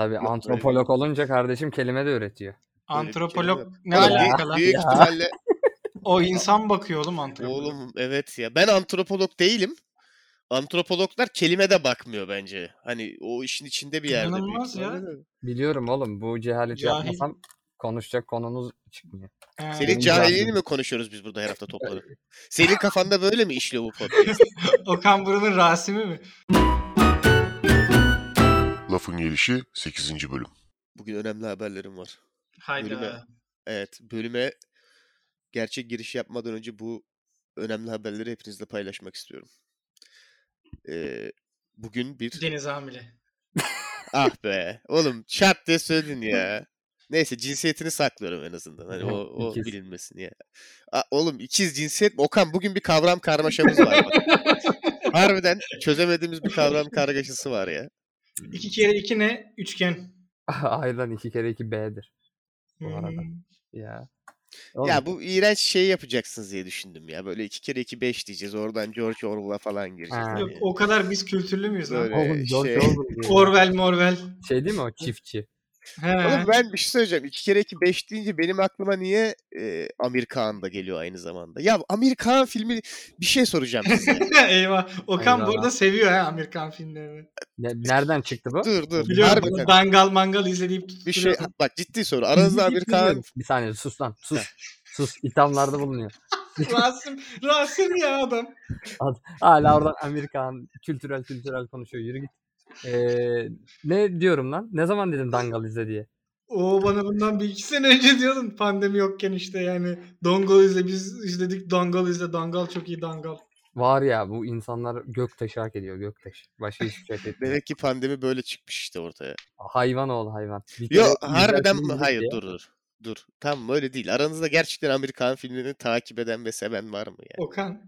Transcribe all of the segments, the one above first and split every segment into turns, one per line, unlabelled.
Tabii antropolog olunca kardeşim kelime de üretiyor.
Antropolog
kelime.
ne
şey Oğlum, büyük-
alakalı?
Büyük
Ya.
ihtimalle
O insan bakıyor oğlum antropolog.
oğlum evet ya. Ben antropolog değilim. Antropologlar kelime de bakmıyor bence. Hani o işin içinde bir yerde. büyük
İnanılmaz ya.
ihtimalle de.
Biliyorum oğlum bu cehaleti
Cahil.
yapmasam konuşacak konunuz çıkmıyor.
Ee,
Senin
Yani
cahilliğini
cahil.
mi konuşuyoruz biz burada her hafta toplanıp? Senin kafanda böyle mi işliyor bu podcast?
Okan Burun'un Rasimi mi?
Lafın Gelişi 8. Bölüm
Bugün önemli haberlerim var. Bölüme.
Hayda.
Evet bölüme gerçek giriş yapmadan önce bu önemli haberleri hepinizle paylaşmak istiyorum. Ee, bugün bir...
Deniz Hamile.
Ah be. Oğlum şart diye söyledin ya. Neyse cinsiyetini saklıyorum en azından. Hani o, o
İkiz.
bilinmesin ya. A, oğlum ikiz cinsiyet mi? Okan bugün bir kavram karmaşamız var. bak. Harbiden çözemediğimiz bir kavram kargaşası var ya.
İki kere iki ne? Üçgen.
Aydan iki kere iki B'dir. Bu
Hmm.
arada. Ya. Oğlum,
Ya bu iğrenç şey yapacaksınız diye düşündüm ya. Böyle iki kere iki beş diyeceğiz. Oradan George Orwell'a falan gireceğiz.
Ha.
Yok
hani.
o kadar biz kültürlü müyüz lan?
Böyle.
Oğlum George
şey-
Orwell diyor.
Orwell morvel.
Şey değil mi o çiftçi?
He.
Oğlum ben bir şey söyleyeceğim. İki kere iki beş deyince benim aklıma niye e, Amir Kağan da geliyor aynı zamanda. Ya Amir Kağan filmi bir şey soracağım size.
Eyvah. Okan bu
Eyvallah.
arada seviyor ha Amerikan filmlerini.
Ne- nereden çıktı bu?
dur dur.
Biliyorum
Harbiden.
bunu dangal mangal izleyip
bir şey
tutturuyor.
bak ciddi soru. Aranızda Amir Kağan
Bir saniye sus lan sus. Sus ithamlarda bulunuyor.
Rasim, Rasim ya adam.
Hala oradan Amerikan kültürel kültürel konuşuyor yürü git. Ee, ne diyorum lan? Ne zaman dedim Dangal izle diye.
O bana bundan bir iki sene önce diyordun pandemi yokken işte yani Dongal izle biz izledik Dangal izle Dangal çok iyi Dangal.
Var ya bu insanlar göktaşı hak ediyor göktaşı. Başka hiçbir şey hak etmiyor.
Demek ki pandemi böyle çıkmış işte ortaya.
Hayvan oğlu hayvan. Bir kere
Yo
güzel
harbiden
film izledik
hayır
ya.
dur dur. Dur. Tam öyle değil. Aranızda gerçekten Amerikan filmlerini takip eden ve seven var mı yani?
Okan.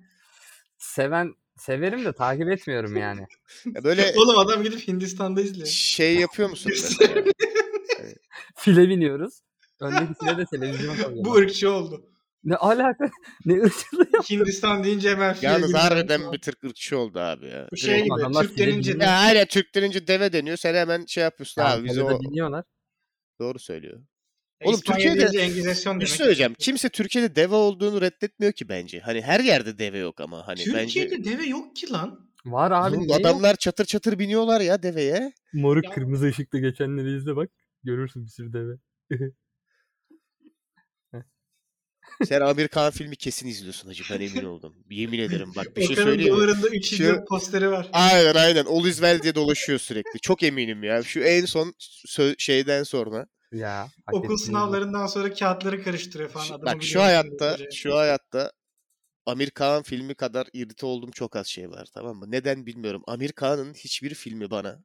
Seven severim de takip etmiyorum yani.
Ya Böyle
Oğlum adam gidip Hindistan'da izliyor.
şey yapıyor musun mesela?
File biniyoruz. Öndeki file de televizyon koyuyor.
Bu ırkçı oldu.
Ne alaka? Ne ırkçılığı?
Hindistan deyince hemen file
Yalnız
gibi-
harbiden bir tık ırkçı oldu abi ya.
Bu şey
Direkt-
gibi
Adamlar
Türk
file
denince
gibi-
de-
Ya hala Türk denince deve deniyor. Sen hemen şey yapıyorsun abi. Biz
Bizi
o...
biniyorlar.
Doğru söylüyor.
İspanya
Oğlum Türkiye'de-
deyince Engizasyon
Bir
demek.
şey söyleyeceğim. Kimse Türkiye'de deve olduğunu reddetmiyor ki bence. Hani her yerde deve yok ama. Hani
Türkiye'de
bence...
deve yok ki lan.
Var abi.
Oğlum
ne yok?
adamlar çatır çatır biniyorlar ya deveye.
Moruk
Ya-
kırmızı ışıkta geçenleri izle bak. Görürsün bir sürü deve.
Sen Amerikan filmi kesin izliyorsun hacı ben emin oldum. Yemin ederim bak bir şey
Okan'ın
söyleyeyim mi?
duvarında 3
Şu-
yıllık posteri var.
Aynen aynen. All is well diye dolaşıyor sürekli. Çok eminim ya. Şu en son sö- şeyden sonra.
Ya. hak
Okul
ettiniz.
sınavlarından sonra kağıtları karıştırıyor falan.
Şu-
adamı
bak şu
biliyorum
hayatta
böyle.
şu hayatta Amir Kağan filmi kadar irite olduğum çok az şey var tamam mı? Neden bilmiyorum. Amir Kağan'ın hiçbir filmi bana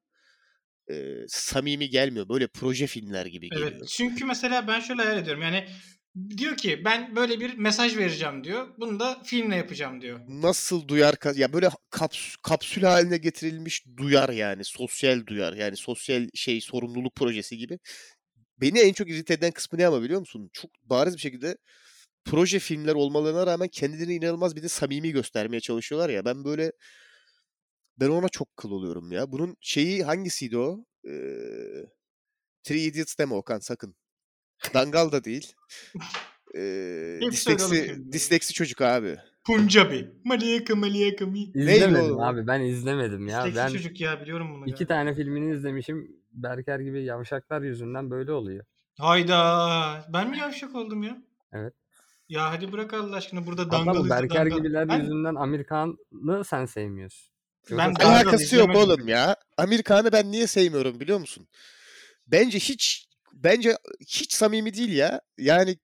e, samimi gelmiyor. Böyle proje filmler gibi geliyor.
Evet. Çünkü mesela ben şöyle hayal ediyorum. Yani diyor ki ben böyle bir mesaj vereceğim diyor. Bunu da filmle yapacağım diyor.
nasıl duyar ka- ya böyle kaps- kapsül haline getirilmiş duyar yani sosyal duyar yani sosyal şey sorumluluk projesi gibi. Beni en çok irite eden kısmı ne ama biliyor musun? Çok bariz bir şekilde proje filmler olmalarına rağmen kendilerini inanılmaz bir de samimi göstermeye çalışıyorlar ya. Ben böyle ben ona çok kıl oluyorum ya. Bunun şeyi hangisiydi o? Ee, Three Idiots deme Okan sakın. Dangal da değil. Ee,
Hep söyle oğlum
disleksi,
filmleri.
disleksi çocuk abi.
Punjabi. Maliyaka maliyaka mi?
Neydi
İzlemedim
oğlum?
abi. Ben izlemedim ya.
Seksi
ben
çocuk ya biliyorum bunu.
iki
ya.
tane filmini izlemişim. Berker gibi yavşaklar yüzünden böyle oluyor.
Hayda. Ben mi yavşak oldum ya?
Evet.
Ya hadi bırak Allah aşkına burada dangal
Adam
izle,
Berker
dangal.
gibiler
Ben-
yüzünden Amerikan'ı sen sevmiyorsun. sen-
Ben- Dangal
Alakası yok
izlemedim.
oğlum ya. Amerikan'ı ben niye sevmiyorum biliyor musun? Bence hiç bence hiç samimi değil ya. Yani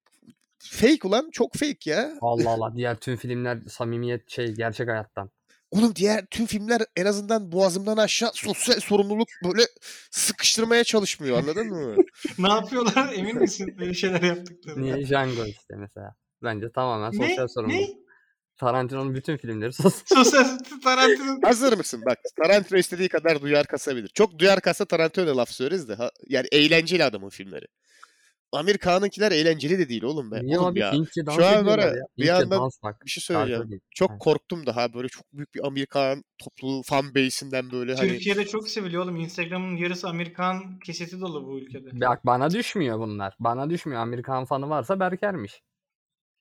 fake ulan çok fake ya.
Allah Allah diğer tüm filmler samimiyet şey gerçek hayattan.
Oğlum diğer tüm filmler en azından boğazımdan aşağı sosyal sorumluluk böyle sıkıştırmaya çalışmıyor anladın mı?
ne yapıyorlar emin misin böyle şeyler yaptıkları?
Niye Django işte mesela. Bence tamamen sosyal sorumluluk.
Ne?
Tarantino'nun bütün filmleri sosyal.
Sosyal Tarantino.
Hazır mısın? Bak Tarantino istediği kadar duyar kasabilir. Çok duyar kasa Tarantino'ya laf söyleriz de. ha- yani eğlenceli adamın filmleri. Amir Kağan'ınkiler eğlenceli de değil oğlum be.
Niye
Oğlum
abi
ya.
Hintçe dans
Şu an var
ediyorlar
ya,
ya.
bir
Hintçe
yandan
dans bak.
Bir şey
Söyleyeceğim.
söyleyeceğim. Çok korktum daha böyle çok büyük bir Amerikan topluluğu fan base'inden böyle hani
Türkiye'de çok seviliyor oğlum. Instagram'ın yarısı Amerikan kesiti dolu bu ülkede.
Bak bana düşmüyor bunlar. Bana düşmüyor. Amerikan fanı varsa Berker'miş.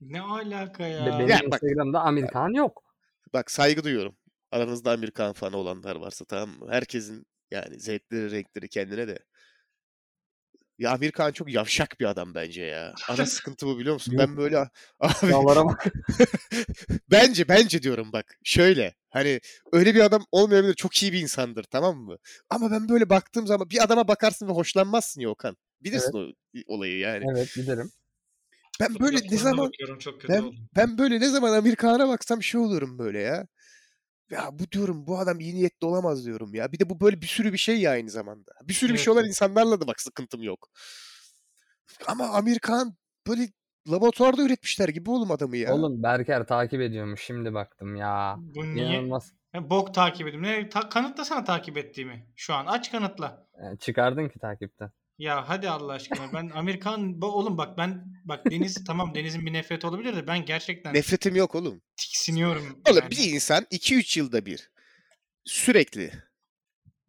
Ne alaka
Ve
ya?
Benim
Ya bak-
Instagram'da Amerikan yok.
bak saygı duyuyorum. Aranızda Amerikan fanı olanlar varsa tamam mı? Herkesin yani zevkleri renkleri kendine de. Ya Amerikan çok yavşak bir adam bence ya. Ana sıkıntı bu biliyor musun? Ben böyle abi
Dağlara bak.
Bence bence diyorum bak. Şöyle hani öyle bir adam olmayabilir. Çok iyi bir insandır tamam mı? Ama ben böyle baktığım zaman bir adama bakarsın ve hoşlanmazsın ya Okan. Bilirsin o olayı yani.
Evet bilirim.
Ben böyle ne
Fotoğraflarına
zaman
bakıyorum, çok kötü oldu.
ben böyle ne zaman Amerikan'a baksam şey olurum böyle ya. Ya bu diyorum bu adam iyi niyetli olamaz diyorum ya. Bir de bu böyle bir sürü bir şey ya aynı zamanda. Bir sürü bir
Evet,
şey olan
evet.
insanlarla da bak sıkıntım yok. Ama Amerikan böyle laboratuvarda üretmişler gibi oğlum adamı ya.
Oğlum Berker takip ediyormuş şimdi baktım ya.
Bu niye?
İnanılmaz.
Ya, bok takip edeyim. Ne? Ta- kanıtla sana takip ettiğimi. Şu an aç kanıtla.
E, Çıkardın ki takipten.
Ya hadi Allah aşkına. Ben Amerikan Ba- oğlum bak ben bak Deniz tamam Deniz'in bir nefreti olabilir de ben gerçekten
Nefretim yok oğlum.
tiksiniyorum.
Oğlum
yani.
bir insan 2-3 yılda bir sürekli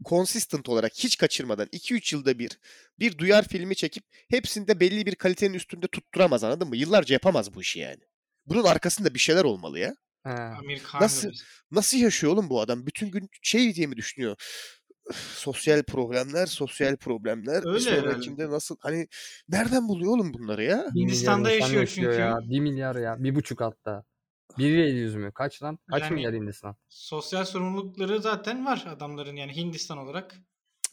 consistent olarak hiç kaçırmadan 2-3 yılda bir bir duyar filmi çekip hepsinde belli bir kalitenin üstünde tutturamaz anladın mı? Yıllarca yapamaz bu işi yani. Bunun arkasında bir şeyler olmalı ya.
He.
Amerikan
Nasıl?
mıdır?
Nasıl yaşıyor oğlum bu adam? Bütün gün şey diye mi düşünüyor? Üf, sosyal problemler, sosyal problemler.
Öyle
sonra
herhalde.
kimde nasıl? Hani nereden buluyor oğlum bunları ya?
Bir milyar
Hindistan'da
insan
yaşıyor
yaşıyor
çünkü.
Ya. 1 milyar ya. bir buçuk hatta. 1.700 mü? Kaç lan? Kaç
Yani-
milyar Hindistan?
Sosyal sorumlulukları zaten var adamların yani Hindistan olarak.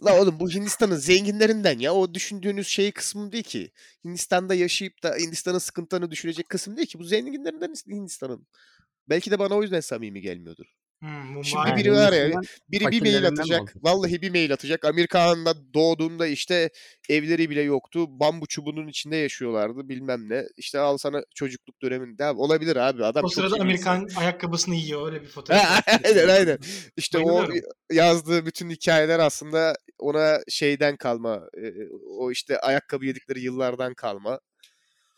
La oğlum bu Hindistan'ın zenginlerinden ya. O düşündüğünüz şey kısmı değil ki. Hindistan'da yaşayıp da Hindistan'ın sıkıntılarını düşürecek kısım değil ki. Bu zenginlerinden Hindistan'ın. Belki de bana o yüzden samimi gelmiyordur.
Hmm, Mumbai.
Şimdi
Yani
biri var ya,
Hindistan'dan
Biri bir mail
Fakirlerinden mi
atacak.
olacak?
Vallahi bir mail atacak. Amerika'da doğduğumda işte evleri bile yoktu. Bambu çubuğunun içinde yaşıyorlardı bilmem ne. İşte al sana çocukluk döneminde. Abi Olabilir abi adam
O
çok iyi
sırada
bir insan.
Amerikan ayakkabısını yiyor öyle bir fotoğraf.
Ha, aynen aynen. İşte o
Bayılıyorum.
yazdığı bütün hikayeler aslında ona şeyden kalma. e, O işte ayakkabı yedikleri yıllardan kalma.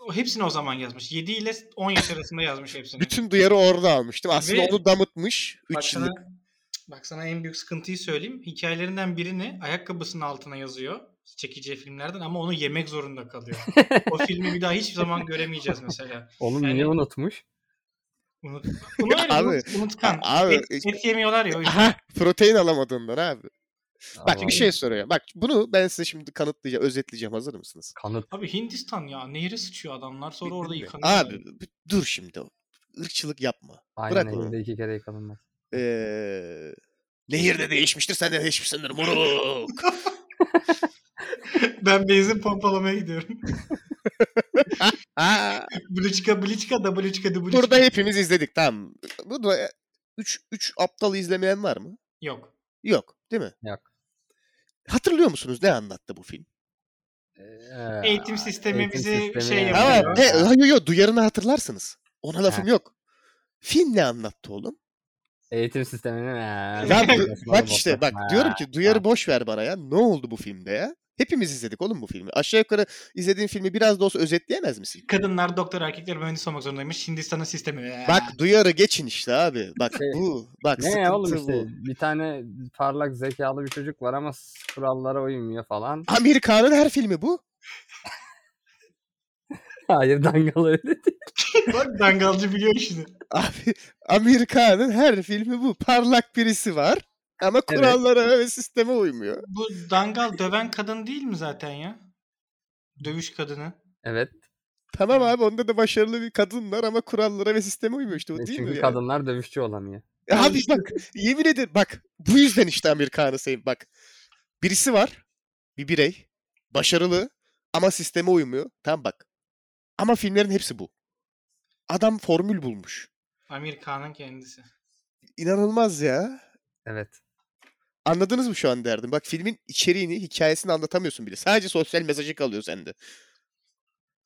O hepsini o zaman yazmış. 7 ile 10 yaş arasında yazmış hepsini.
Bütün duyarı orada almıştım. Aslında
Ve-
onu damıtmış. 3
Baksana
yıllık.
Bak Baksana en büyük sıkıntıyı söyleyeyim. Hikayelerinden birini ayakkabısının altına yazıyor. Çekeceği filmlerden ama onu yemek zorunda kalıyor. o filmi bir daha hiçbir zaman göremeyeceğiz mesela.
Oğlum
Yani-
niye unutmuş?
Unut, Bunu öyle
Abi-
unut- unutkan.
abi-
et, et yemiyorlar ya. o yüzden.
Aha, protein alamadığından abi. Bak
Aman,
bir şey soruyor. Bak bunu ben size şimdi kanıtlayacağım, özetleyeceğim. Hazır mısınız?
Kanıt.
Abi Hindistan ya. Nehre sıçıyor adamlar. Sonra orada
Bildin mi?
yıkanıyor.
Abi b- dur şimdi. Irkçılık yapma.
Aynen
Bırak onu.
elinde iki kere yıkanılmaz.
Ee, nehir de değişmiştir, sen de değişmişsindir moruk.
Ben benzin pompalamaya gidiyorum.
Ha.
Bliçka, bliçka da bliçka da bliçka.
Burada hepimiz izledik tamam. Burada 3 3 aptal izlemeyen var mı?
Yok.
Yok, değil mi?
Yok.
Hatırlıyor musunuz ne anlattı bu film?
Ee,
E, Eğitim sistemi bizi şey
yani.
yapıyor.
Ama
Yok.
de, yo, yo, yo, duyarını hatırlarsınız. Ona lafım yok. Film ne anlattı oğlum?
Eğitim sistemini
Lan
Bak
du- bak işte bak diyorum ki duyarı boş ver bana ya. Ne oldu bu filmde ya? Hepimiz izledik oğlum bu filmi. Aşağı yukarı izlediğin filmi biraz da olsa özetleyemez misin?
Kadınlar doktor erkekler mühendis olmak zorundaymış. Hindistan'ın sistemi.
Bak duyarı geçin işte abi. Bak
Şey,
bu. Bak
Ne
sıkıntı
oğlum işte
bu.
bir tane parlak zekalı bir çocuk var ama s- kurallara uymuyor falan.
Amerika'nın her filmi bu.
Hayır dangal öyle değil.
Bak dangalcı biliyor işini.
Abi Amerika'nın her filmi bu. Parlak birisi var ama kurallara ve sisteme uymuyor.
Bu dangal döven kadın değil mi zaten ya? Dövüş kadını.
Evet.
Tamam abi onda da başarılı bir kadın var ama kurallara ve sisteme uymuyor işte. O değil
E çünkü
mi? yani?
kadınlar dövüşçü olamıyor.
Abi E, bak yemin ederim bak bu yüzden işte Amerikan'ı sevim bak. Birisi var bir birey başarılı ama sisteme uymuyor. Tamam bak. Ama filmlerin hepsi bu. Adam formül bulmuş.
Amerika'nın kendisi.
inanılmaz ya.
Evet.
Anladınız mı şu an derdim? Bak filmin içeriğini, hikayesini anlatamıyorsun bile. Sadece sosyal mesajı kalıyor sende.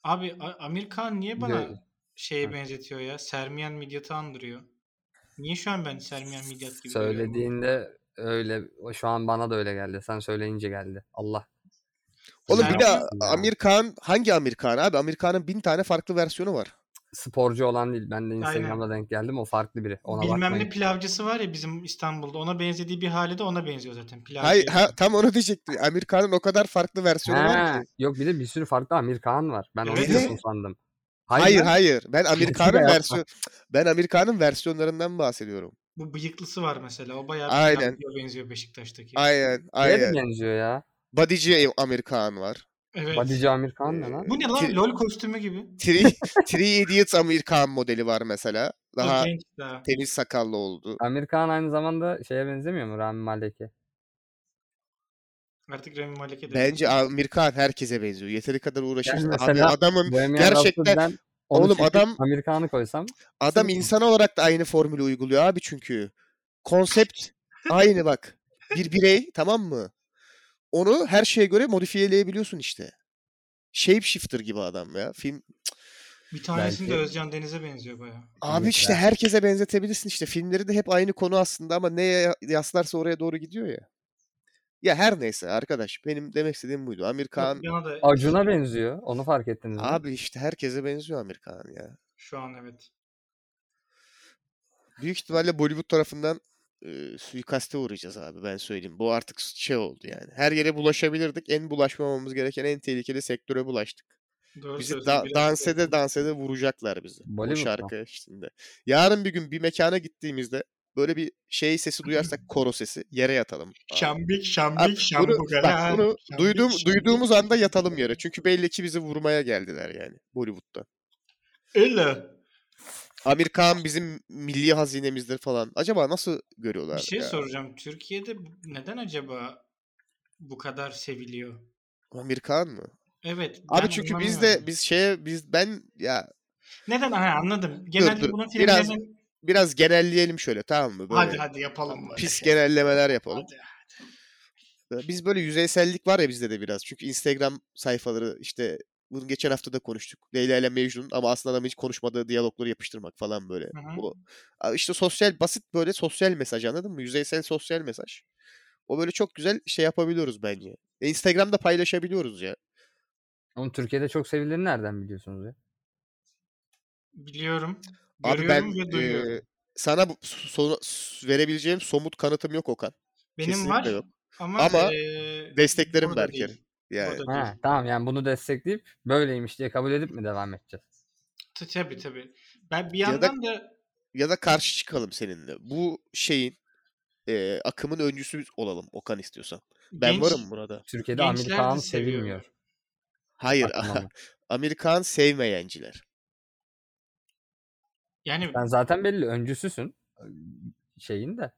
Abi A- Amir Khan niye
Bir
bana
de-
şeye
Hı.
benzetiyor ya? Sermiyen Midyat'ı andırıyor. Niye şu an ben Sermiyen Midyat gibi görüyorum?
Söylediğinde öyle şu an bana da öyle geldi. Sen söyleyince geldi. Allah.
Oğlum
Yani-
bir de Amir Khan hangi Amir Khan abi? Amir Khan'ın bin tane farklı versiyonu var.
sporcu olan değil. Ben de Instagram'da denk geldim. O farklı biri. Ona
Bilmem
bakmayın.
ne pilavcısı var ya bizim İstanbul'da. Ona benzediği bir hali de ona benziyor zaten. Pilavcı.
Hayır, ha, tam onu diyecektim. Amir Khan'ın o kadar farklı versiyonu var
Ha,
ki.
Yok bir de bir sürü farklı Amir Kağan var. Ben onu
Evet.
diyorsun sandım.
Hayır
lan.
hayır. Ben Amir
Kesin
Khan'ın
de yapma.
versiyon ben Amir Khan'ın versiyonlarından bahsediyorum.
Bu bıyıklısı var mesela. O bayağı
Aynen.
pilavcıya benziyor Beşiktaş'taki.
Aynen
Neye de
aynen.
benziyor ya?
Badici Amir Khan var.
Evet.
Badici Amir Kağan
Ee,
ne lan?
Bu ne lan?
Ki-
LOL kostümü gibi.
Three, Three Idiots Amir Khan modeli var mesela. Daha
Daha... Genç daha.
temiz sakallı oldu.
Amir Kağan aynı zamanda şeye benzemiyor mu? Rami Malek'e.
Artık Rami Malek'e de.
Bence Amir Khan herkese benziyor. Yeteri kadar uğraşırsan.
Yani
Abi
mesela
adamın
Bohemian
Gerçekten-
Rhapsody'den onu
Oğlum
çekip
adam-
Amir Kağan'ı koysam
adam
Tabii.
insan olarak da aynı formülü uyguluyor abi çünkü. Konsept aynı bak. Bir birey tamam mı? Onu her şeye göre modifiyeleyebiliyorsun işte. Shapeshifter gibi adam ya. Film
Bir tanesini de
Belki-
Özcan Deniz'e benziyor bayağı.
Abi
Evet
işte
ya.
herkese benzetebilirsin işte. Filmleri de hep aynı konu aslında ama neye yaslarsa oraya doğru gidiyor ya. Ya her neyse arkadaş benim demek istediğim buydu. Amir Kağan
Yana da
Acun'a benziyor. Onu fark ettiniz mi?
abi işte herkese benziyor Amir Kağan ya.
şu an evet.
Büyük ihtimalle Bollywood tarafından e, suikaste uğrayacağız abi ben söyleyeyim. Bu artık şey oldu yani. Her yere bulaşabilirdik. En bulaşmamamız gereken en tehlikeli sektöre bulaştık.
Doğru
Bizi
söylüyorsun,
da-
biraz- şey.
dansede dansede vuracaklar bizi. Bu
Bollywood'da.
şarkı içinde. Yarın bir gün bir mekana gittiğimizde böyle bir şey sesi duyarsak koro sesi yere yatalım. abi.
Şambik,
Abi
şambik,
bunu,
şambuk.
bak bunu duyduğum, duyduğumuz anda yatalım yere. Çünkü belli ki bizi vurmaya geldiler yani Bollywood'da.
Öyle.
Amir Khan bizim milli hazinemizdir falan. Acaba nasıl görüyorlar?
Bir şey
ya?
soracağım. Türkiye'de bu- neden acaba bu kadar seviliyor?
Amir Khan mı?
Evet. ben
Abi çünkü biz de
anlamıyorum.
biz şeye biz ben ya
Neden? Ha, anladım. Genelde
dur.
bunun filmlerinin...
Biraz biraz genelleyelim şöyle tamam mı? Böyle
Hadi hadi yapalım. böyle
pis
şey.
genellemeler yapalım.
Hadi.
Biz böyle yüzeysellik var ya bizde de biraz. Çünkü Instagram sayfaları işte bunu geçen hafta da konuştuk. Leyla ile Mecnun ama aslında adam hiç konuşmadığı diyalogları yapıştırmak falan böyle.
hı.
O a- işte sosyal basit böyle sosyal mesaj anladın mı? Yüzeysel sosyal mesaj. O böyle çok güzel şey yapabiliyoruz bence. E, Instagram'da paylaşabiliyoruz ya.
Onu Türkiye'de çok sevildiğini nereden biliyorsunuz ya?
Biliyorum.
Abi
Görüyorum
ben
ve duyuyorum.
e, sana bu- so- so- verebileceğim somut kanıtım yok Okan.
Benim
e, kesinlikle
var
yok.
ama,
Ama
e,
desteklerim
burada
Berker'i.
değil.
Yani
Burada
Ha,
değil.
tamam yani bunu destekleyip böyleymiş diye kabul edip mi devam edeceğiz?
Ta- Tabii tabii. Ben bir
da-
yandan da
ya da karşı çıkalım seninle. Bu şeyin e, akımın öncüsü olalım Okan istiyorsan. Ben
genç-
varım burada.
Türkiye'de
Gençler de
Amir Kağan
seviyor.
sevilmiyor.
Hayır.
Bakın
Amerikan sevmeyenciler.
Yani
Sen zaten belli öncüsüsün şeyin de.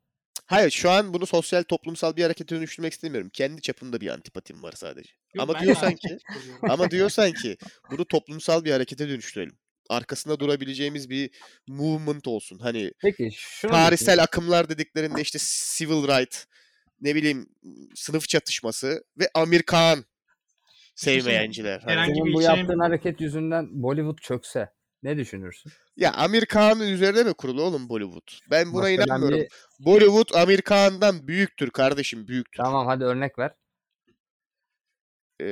Hayır şu an bunu sosyal toplumsal bir harekete dönüştürmek istemiyorum. Kendi çapımda bir antipatim var sadece.
Yok,
ama
ben de
diyorsan
antipatim
ki
kuruyorum.
ama diyorsan ki bunu toplumsal bir harekete dönüştürelim. Arkasında durabileceğimiz bir movement olsun. Hani
Peki şunu
tarihsel akımlar dediklerinde işte civil right, ne bileyim sınıf çatışması ve Amerikan sevmeyenciler. Hani-
herhangi bir şey
Senin bu
işe-
yaptığın hareket yüzünden Bollywood çökse ne düşünürsün?
Ya Amerikan'ın üzerine mi kurulu oğlum Bollywood? Ben buna
Mesela
inanmıyorum.
bir-
Bollywood Amerikan'dan büyüktür kardeşim büyüktür.
Tamam hadi örnek ver.
Ee,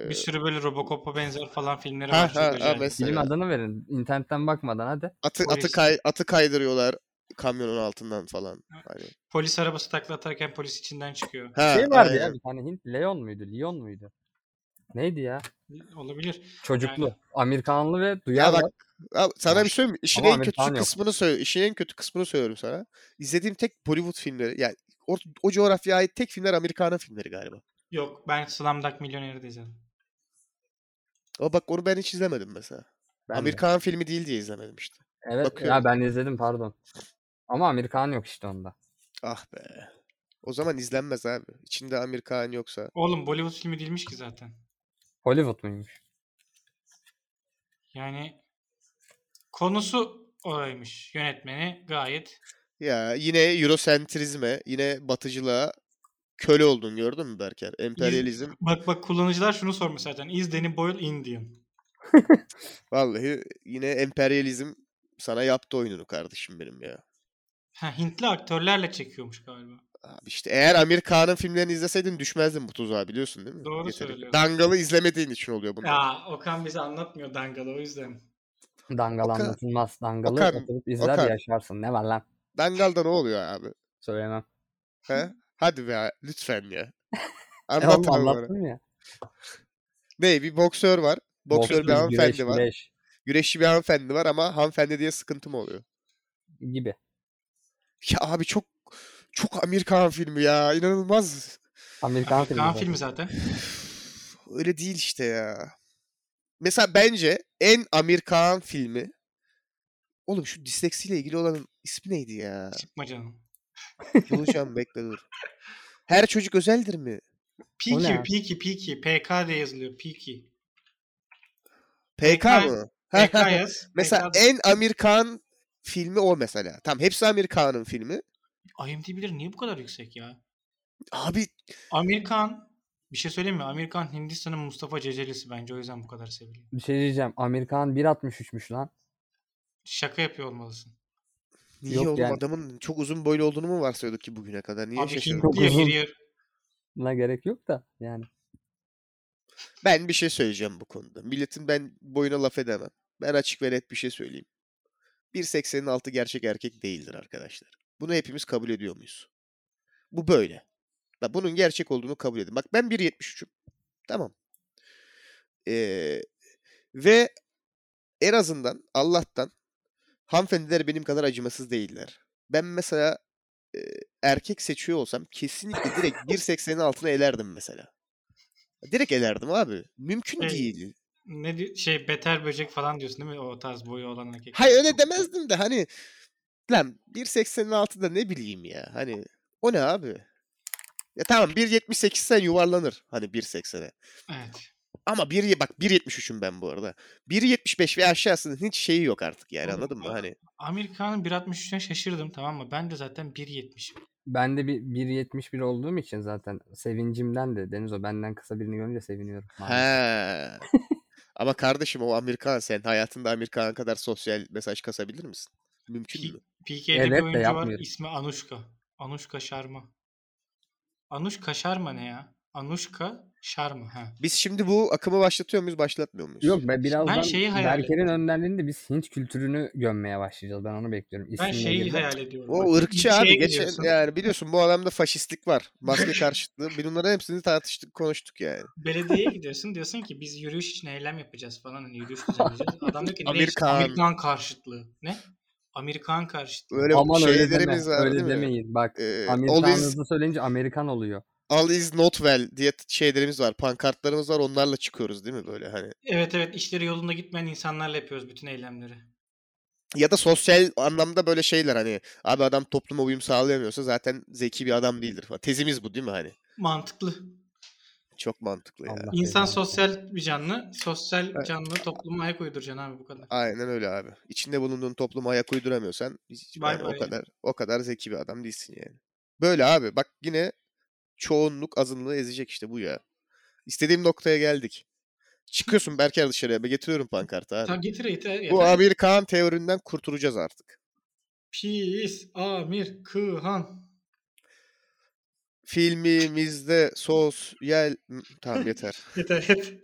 şey
bir sürü böyle Robocop'a benzer falan filmleri
Ha,
var. çok
ha, ha,
acayip.
mesela.
Film
Evet.
adını verin. İnternetten bakmadan hadi.
atı
Polis.
atı kay, atı kaydırıyorlar kamyonun altından falan. Hani.
Polis arabası takla atarken polis içinden çıkıyor.
Ha,
Şey vardı
aynen.
ya bir tane Hint Leon muydu? Leon muydu? Neydi ya?
Olabilir.
Çocuklu. Amerikanlı ve
Ya
duyarlı.
bak abi sana bir şey söyleyeyim mi? İşin
Ama
en kötü
Amerikan yok.
kısmını söyle. İşin en kötü kısmını söylüyorum sana. İzlediğim tek Bollywood filmleri yani o, o coğrafyaya ait tek filmler Amerikan'ın filmleri galiba.
Yok ben Slumdog Milyoner'i de izledim.
Ama bak onu ben hiç izlemedim mesela.
Ben de.
Amerikan filmi değil diye izlemedim işte.
Evet
bakıyorum.
ya ben izledim pardon. Ama Amerikan yok işte onda.
Ah be. O zaman izlenmez abi. İçinde Amerikan yoksa.
Oğlum Bollywood filmi değilmiş ki zaten.
Hollywood muymuş?
Yani konusu oraymış. Yönetmeni gayet
Ya yine Eurosentrizme, yine batıcılığa köle oldun gördün mü Berker? Emperyalizm
Bak bak kullanıcılar şunu sormuş zaten. Is Danny Boyle Indian?
vallahi yine emperyalizm sana yaptı oyununu kardeşim benim ya.
Ha, Hintli aktörlerle çekiyormuş galiba.
Abi işte eğer Amir Kağan'ın filmlerini izleseydin düşmezdin bu tuzağa biliyorsun değil mi?
Doğru
Yeteri-
söylüyorsun.
Dangalı izlemediğin için oluyor bunlar.
Ya Okan bize anlatmıyor Dangalı o yüzden.
Dangal
Okan-
anlatılmaz. Dangalı
Okan-
oturup izler
Okan.
yaşarsın. Ne var lan?
Dangalda ne oluyor abi?
Söylemem.
He? Hadi be lütfen ya.
E
Anlat
oğlum,
abi bana.
anlattım ya.
Ne bir boksör var. Boksör bir
Boksuz,
hanımefendi
güreş,
var.
güreş
Güreşçi bir hanımefendi var ama hanımefendi diye sıkıntı mı oluyor?
gibi.
Ya abi çok çok Amerikan filmi ya. inanılmaz.
Amerikan filmi.
Okan
zaten.
filmi zaten.
Üf, Öyle değil işte ya. Mesela bence en Amerikan filmi Oğlum şu disleksiyle ilgili olanın ismi neydi ya?
Çıkma canım.
Bulacağım bekle dur. Her çocuk özeldir mi?
O ne
Piki,
abi?
Piki, Piki. PK diye yazılıyor. Piki.
PK
PK
mı?
PK yaz.
Mesela
PK
en Amerikan filmi o mesela. Tam hepsi Amerikan'ın filmi.
IMDb'leri niye bu kadar yüksek ya?
Abi
Amerikan bir şey söyleyeyim mi? Amerikan Hindistan'ın Mustafa Cecelisi bence o yüzden bu kadar seviliyor.
Bir şey diyeceğim. Amerikan 1.63'müş lan.
Şaka yapıyor olmalısın.
niye
Yok
oğlum
yani.
adamın çok uzun boylu olduğunu mu varsayıyorduk ki bugüne kadar? Niye
Abi
şaşırdık?
Çok
Hintliye
uzun.
giriyor.
Buna gerek yok da yani.
Ben bir şey söyleyeceğim bu konuda. Milletin ben boyuna laf edemem. Ben açık ve net bir şey söyleyeyim. 1.80'in altı gerçek erkek değildir arkadaşlar. Bunu hepimiz kabul ediyor muyuz? Bu böyle. Bak bunun gerçek olduğunu kabul edin. Bak ben 1.73'üm. Tamam. Ee, ve en azından Allah'tan hanımefendiler benim kadar acımasız değiller. Ben mesela e, erkek seçiyor olsam kesinlikle direkt 1.80'in altına elerdim mesela. Direkt elerdim abi. Mümkün
Evet.
değil.
Ne di- şey beter böcek falan diyorsun değil mi? O tarz boyu olan erkek.
Hayır öyle demezdim de hani lan 1.80'in altında ne bileyim ya. Hani o ne abi? Ya tamam 1.78 sen yuvarlanır hani 1.80'e.
Evet.
Ama bir, bak 1.73'üm ben bu arada. 1.75 ve aşağısının hiç şeyi yok artık yani
Oğlum,
anladın mı?
bak-
Hani
Amerikan'ın 1.63'üne şaşırdım tamam mı? Ben de zaten 1.70.
Ben de bir 1.71 olduğum için zaten sevincimden de Deniz o benden kısa birini görünce seviniyorum. maalesef.
Hani, he. Ama kardeşim o Amerikan sen hayatında Amerikan kadar sosyal mesaj kasabilir misin? Mümkün
Ki-
mü?
PK'de
Evet
bir
de
oyuncu var
yapmıyorum.
ismi Anuşka. Anuşka Şarma. Anuşka Şarma ne ya? Anuşka Şarma. Ha.
Biz şimdi bu akımı başlatıyor muyuz, başlatmıyor muyuz?
Yok ben birazdan
şeyi hayal
Berker'in önderliğinde biz Hint kültürünü gömmeye başlayacağız. Ben onu bekliyorum.
Ben
İsimle
şeyi
girdim.
hayal ediyorum.
O
Bak,
ırkçı
şeye
abi. Geçen,
geliyorsun.
yani biliyorsun bu adamda faşistlik var. Maske karşıtlığı. Biz bunların hepsini tartıştık, konuştuk yani.
Belediyeye gidiyorsun diyorsun ki biz yürüyüş için eylem yapacağız falan hani yürüyüş düzenleyeceğiz. Adam diyor ki ne işte,
Amerikan.
Amerikan karşıtlığı. Ne? Amerikan karşıtlığı.
Öyle
Aman öyle deme.
şeylerimiz var
öyle
değil mi?
demeyin. Bak
Ee,
Amerikan
always,
hızlı söyleyince Amerikan oluyor.
all is not well diye t- şeylerimiz var. Pankartlarımız var. Onlarla çıkıyoruz değil mi böyle hani?
Evet evet işleri yolunda gitmeyen insanlarla yapıyoruz bütün eylemleri.
Ya da sosyal anlamda böyle şeyler hani. Abi adam topluma uyum sağlayamıyorsa zaten zeki bir adam değildir falan. Tezimiz bu değil mi hani?
Mantıklı.
Çok mantıklı ya.
Allah
İnsan
belanı
sosyal bir canlı. Sosyal
Evet.
canlı topluma ayak uyduracaksın abi bu kadar.
Aynen öyle abi. İçinde bulunduğun topluma ayak uyduramıyorsan hiç-
Bay
yani o
bay.
kadar o kadar zeki bir adam değilsin yani. Böyle abi bak yine çoğunluk azınlığı ezecek işte bu ya. İstediğim noktaya geldik. Çıkıyorsun Berker dışarıya. Ben getiriyorum pankartı abi.
Tamam getir yeter. yeter.
Bu Amir Kağan teorinden kurtulacağız artık.
Pis Amir Kıhan.
Filmimizde sos, yel... Hı, Tamam yeter.
Yeter yeter.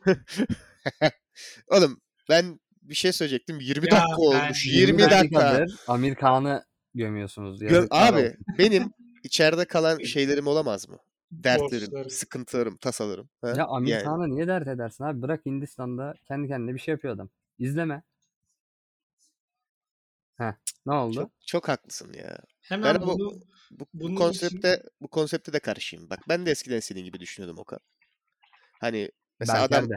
Oğlum ben bir şey söyleyecektim. 20
Ya
dakika
ben-
olmuş. 20
dakikadır
dakika.
Amerikan'ı gömüyorsunuz.
Gö-
Yazıklar
abi
olsun.
benim içeride kalan şeylerim olamaz mı? Dertlerim,
Borçlarım.
sıkıntılarım, tasalarım. Ha?
Ya
Yani
Amerikan'ı niye dert edersin abi? Bırak Hindistan'da kendi kendine bir şey yapıyor adam. İzleme. Heh, ne oldu?
çok, çok haklısın ya.
Hemen
Ben bu-
bunu
Bu, bu
Bunun için-
konsepte bu konsepte de karışayım. Bak ben de eskiden senin gibi düşünüyordum Okan. Hani mesela
Berker
adam
de.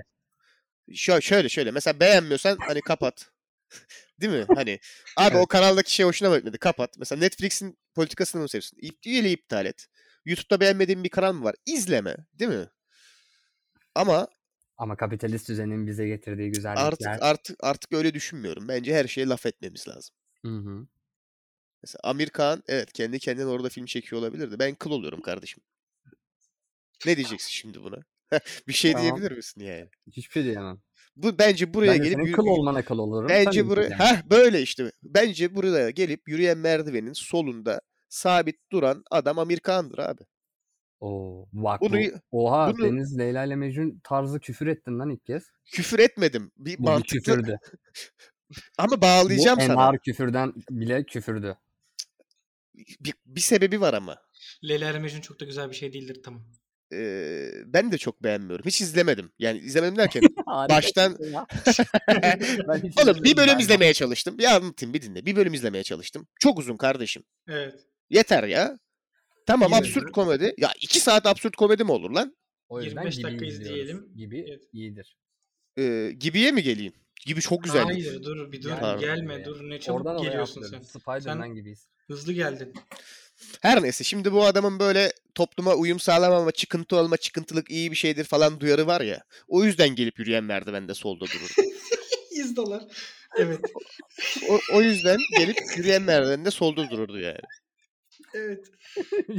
şö- şöyle şöyle mesela beğenmiyorsan hani kapat. Değil mi? Hani abi o
Evet.
kanaldaki şey hoşuna mı gitmedi? Kapat. Mesela Netflix'in politikasını mı seviyorsun? İp, üyeliği iptal et. YouTube'da beğenmediğin bir kanal mı var? İzleme. Değil mi? Ama
Ama kapitalist düzenin bize getirdiği güzellikler.
artık artık artık öyle düşünmüyorum. Bence her şeye laf etmemiz lazım.
Hı hı.
Mesela Amir Kağan evet kendi kendine orada film çekiyor olabilirdi. Ben kıl oluyorum kardeşim. Ne diyeceksin şimdi buna? bir şey
Tamam.
diyebilir misin yani?
Hiçbir şey diyemem.
Bu bence buraya
Ben de
gelip
senin
yürü-
kıl olmana kıl olurum. sen
bence
benim
buraya
kılına.
ha böyle işte. Bence buraya gelip yürüyen merdivenin solunda sabit duran adam Amir Kağan'dır abi.
Oo, bak
Bunu-
bu. Oha
bunu-
Deniz Leyla ile Mecnun tarzı küfür ettin lan ilk kez.
Küfür etmedim. Bir
Bu bir
mantıklı
küfürdü.
ama
Bu
bağlayacağım sana.
MR küfürden bile küfürdü.
Bir, bir sebebi var ama.
Leyla ile Mecnun çok da güzel bir şey değildir tamam.
Ee, ben de çok beğenmiyorum. Hiç izlemedim. Yani izlemedim derken Baştan-
şey
Oğlum bir bölüm izlemeye çalıştım. Ya anlatayım bir dinle. Bir bölüm izlemeye çalıştım. Çok uzun kardeşim.
Evet.
Yeter ya. Tamam
Yine
absürt
de.
komedi. Ya iki saat absürt komedi mi olur lan?
O yüzden
25
gibi
dakika
izliyoruz.
izleyelim.
Gibi
Evet.
iyidir.
Ee, gibiye mi geleyim? Gibi çok güzel.
Hayır dur bir dur
Pardon.
gelme dur ne çabuk
Oradan oraya
geliyorsun sen.
atlıyorum. Spider-Man
Sen-
gibiyiz.
Hızlı geldin.
Her neyse şimdi bu adamın böyle topluma uyum sağlamama, çıkıntı olma, çıkıntılık iyi bir şeydir falan duyarı var ya. O yüzden gelip yürüyen merdivende solda durur.
100 dolar. Evet.
O, o yüzden gelip yürüyen merdivende solda dururdu yani.
evet.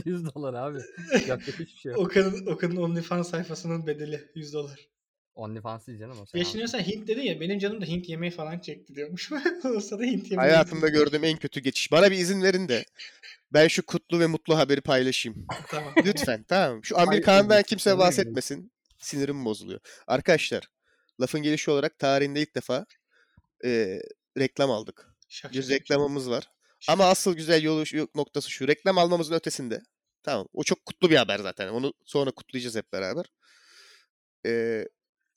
100 dolar abi. Yapacak hiçbir şey yok.
Okan'ın Okan'ın OnlyFans sayfasının bedeli 100 dolar.
OnlyFans değil canım o. sen al.
Yaşınıyorsan Hint dedi ya benim canım da Hint yemeği falan çekti diyormuş. Olsa da Hint yemeği.
Hayatımda gördüğüm en kötü geçiş. Bana bir izin verin de ben şu kutlu ve mutlu haberi paylaşayım.
Tamam.
Lütfen tamam. Şu
Hayır,
Amerikan'dan
özür-
kimse
özür
bahsetmesin. Sinirim bozuluyor. Arkadaşlar lafın gelişi olarak tarihinde ilk defa e, reklam aldık.
Şak
Göz
şak.
reklamımız var. Ama asıl güzel yolu şu- noktası şu. Reklam almamızın ötesinde. Tamam. O çok kutlu bir haber zaten. Onu sonra kutlayacağız hep beraber. Ee,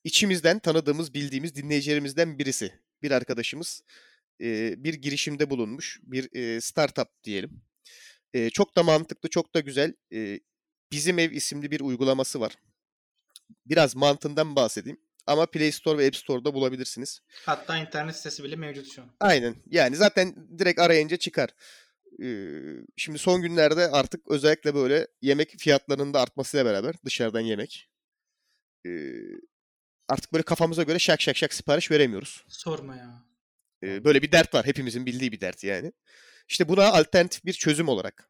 içimizden tanıdığımız, bildiğimiz dinleyicilerimizden birisi. Bir arkadaşımız e, bir girişimde bulunmuş. Bir e, startup diyelim. E, çok da mantıklı, çok da güzel. E, Bizim Ev isimli bir uygulaması var. Biraz mantığından bahsedeyim. Ama Play Store ve App Store'da bulabilirsiniz.
Hatta internet sitesi bile mevcut şu an.
Aynen. Yani zaten direkt arayınca çıkar. Ee, Şimdi son günlerde artık özellikle böyle yemek fiyatlarının da artmasıyla beraber dışarıdan yemek. ee, Artık böyle kafamıza göre şak şak şak sipariş veremiyoruz.
Sorma ya.
Ee, Böyle bir dert var. Hepimizin bildiği bir dert yani. İşte buna alternatif bir çözüm olarak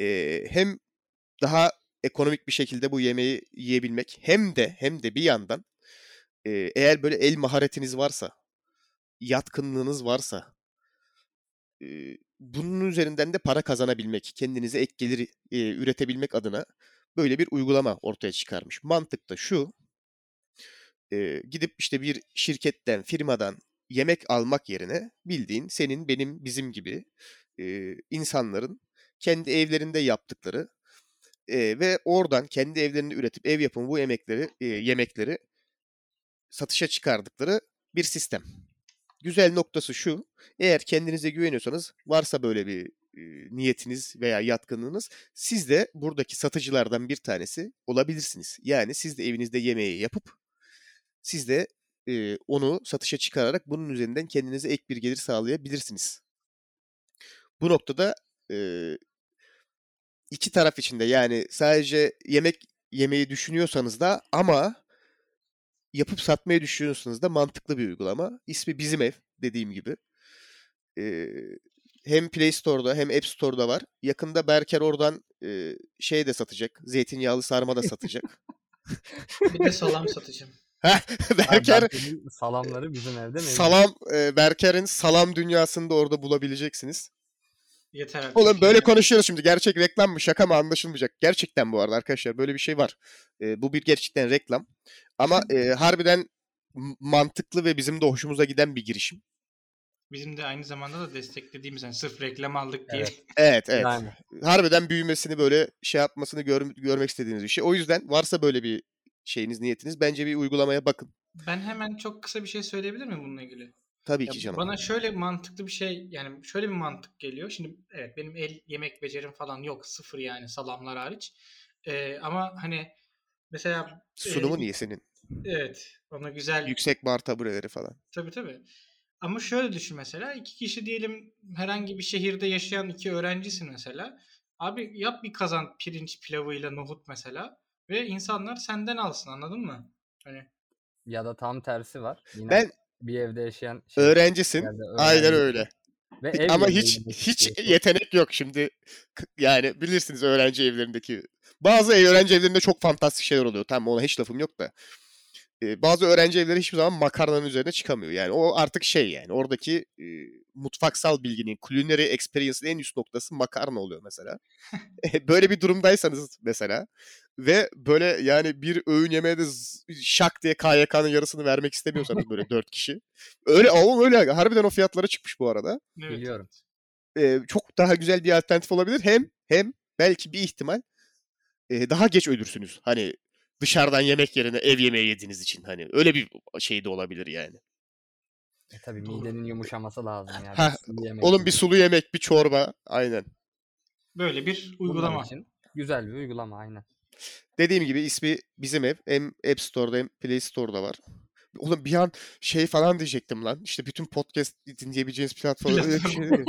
ee, hem daha ekonomik bir şekilde bu yemeği yiyebilmek hem de hem de bir yandan ee, eğer böyle el maharetiniz varsa, yatkınlığınız varsa e, bunun üzerinden de para kazanabilmek, kendinize ek gelir e, üretebilmek adına böyle bir uygulama ortaya çıkarmış. Mantık da şu. e, gidip işte bir şirketten, firmadan yemek almak yerine bildiğin senin, benim, bizim gibi e, insanların kendi evlerinde yaptıkları e, ve oradan kendi evlerinde üretip ev yapımı bu yemekleri e, yemekleri satışa çıkardıkları bir sistem. Güzel noktası şu. Eğer kendinize güveniyorsanız varsa böyle bir e, niyetiniz veya yatkınlığınız siz de buradaki satıcılardan bir tanesi olabilirsiniz. Yani siz de evinizde yemeği yapıp siz de e, onu satışa çıkararak bunun üzerinden kendinize ek bir gelir sağlayabilirsiniz. Bu noktada e, iki taraf içinde yani sadece yemek yemeyi düşünüyorsanız da ama yapıp satmayı düşünüyorsanız da mantıklı bir uygulama. İsmi Bizim Ev dediğim gibi. Ee, hem Play Store'da hem App Store'da var. Yakında Berker oradan e, şey de satacak. Zeytinyağlı sarma da satacak.
Bir de salam satacağım.
Abi
Berker
Berke'nin salamları bizim evde mevcut.
salam e, Berker'in salam dünyasında orada bulabileceksiniz.
Yeter artık.
Oğlum böyle
Ya.
konuşuyoruz şimdi. Gerçek reklam mı şaka mı anlaşılmayacak. Gerçekten bu arada arkadaşlar böyle bir şey var. E, bu bir gerçekten reklam. Ama e, harbiden m- mantıklı ve bizim de hoşumuza giden bir girişim.
Bizim de aynı zamanda da desteklediğimiz yani sırf reklam aldık diye.
Evet evet.
Yani
harbiden büyümesini böyle şey yapmasını gör- görmek istediğiniz bir şey. O yüzden varsa böyle bir şeyiniz, niyetiniz bence bir uygulamaya bakın.
Ben hemen çok kısa bir şey söyleyebilir miyim bununla ilgili?
Tabii
Ya
ki canım.
Bana şöyle mantıklı bir şey yani şöyle bir mantık geliyor. Şimdi evet benim el yemek becerim falan yok sıfır yani salamlar hariç. Ee, ama hani mesela
Sunumu
e,
niye senin?
Evet ona güzel
Yüksek bar tabureleri falan.
Tabii tabii. Ama şöyle düşün mesela iki kişi diyelim herhangi bir şehirde yaşayan iki öğrencisin mesela. Abi yap bir kazan pirinç pilavıyla nohut mesela ve insanlar senden alsın anladın mı? Hani
ya da tam tersi var. Yine
Ben-
bir evde yaşayan şey,
Öğrencisin.
yerde öğrenci-
Aynen öyle.
Ve ev
Ama
yemeği
hiç
yemek
hiç
istiyorsun.
yetenek yok şimdi. K- Yani bilirsiniz öğrenci evlerindeki. Bazı öğrenci evlerinde çok fantastik şeyler oluyor. Tamam ona hiç lafım yok da. Ee, bazı öğrenci evleri hiçbir zaman makarnanın üzerine çıkamıyor. Yani o artık şey yani oradaki e, mutfaksal bilginin, culinary experience'ın en üst noktası makarna oluyor mesela. Eh, böyle bir durumdaysanız mesela ve böyle yani bir öğün yemeğe de z- şak diye KYK'nın yarısını vermek istemiyorsanız böyle dört kişi. Öyle oğlum öyle harbiden o fiyatlara çıkmış bu arada
Evet.
Biliyorum.
e, çok daha güzel bir alternatif olabilir. Hem hem belki bir ihtimal e, daha geç ölürsünüz. Hani dışarıdan yemek yerine ev yemeği yediğiniz için hani öyle bir şey de olabilir yani.
E, tabii
Doğru.
midenin yumuşaması lazım yani.
Ha,
sulu yemek
Onun
için.
bir sulu yemek, bir çorba aynen.
Böyle bir
Bunlar
uygulama.
için Güzel bir uygulama aynen.
Dediğim gibi ismi bizim ev. Hem App Store'da hem Play Store'da var. Oğlum bir an şey falan diyecektim lan. İşte bütün podcast dinleyebileceğiniz platform öyle bir şey değil.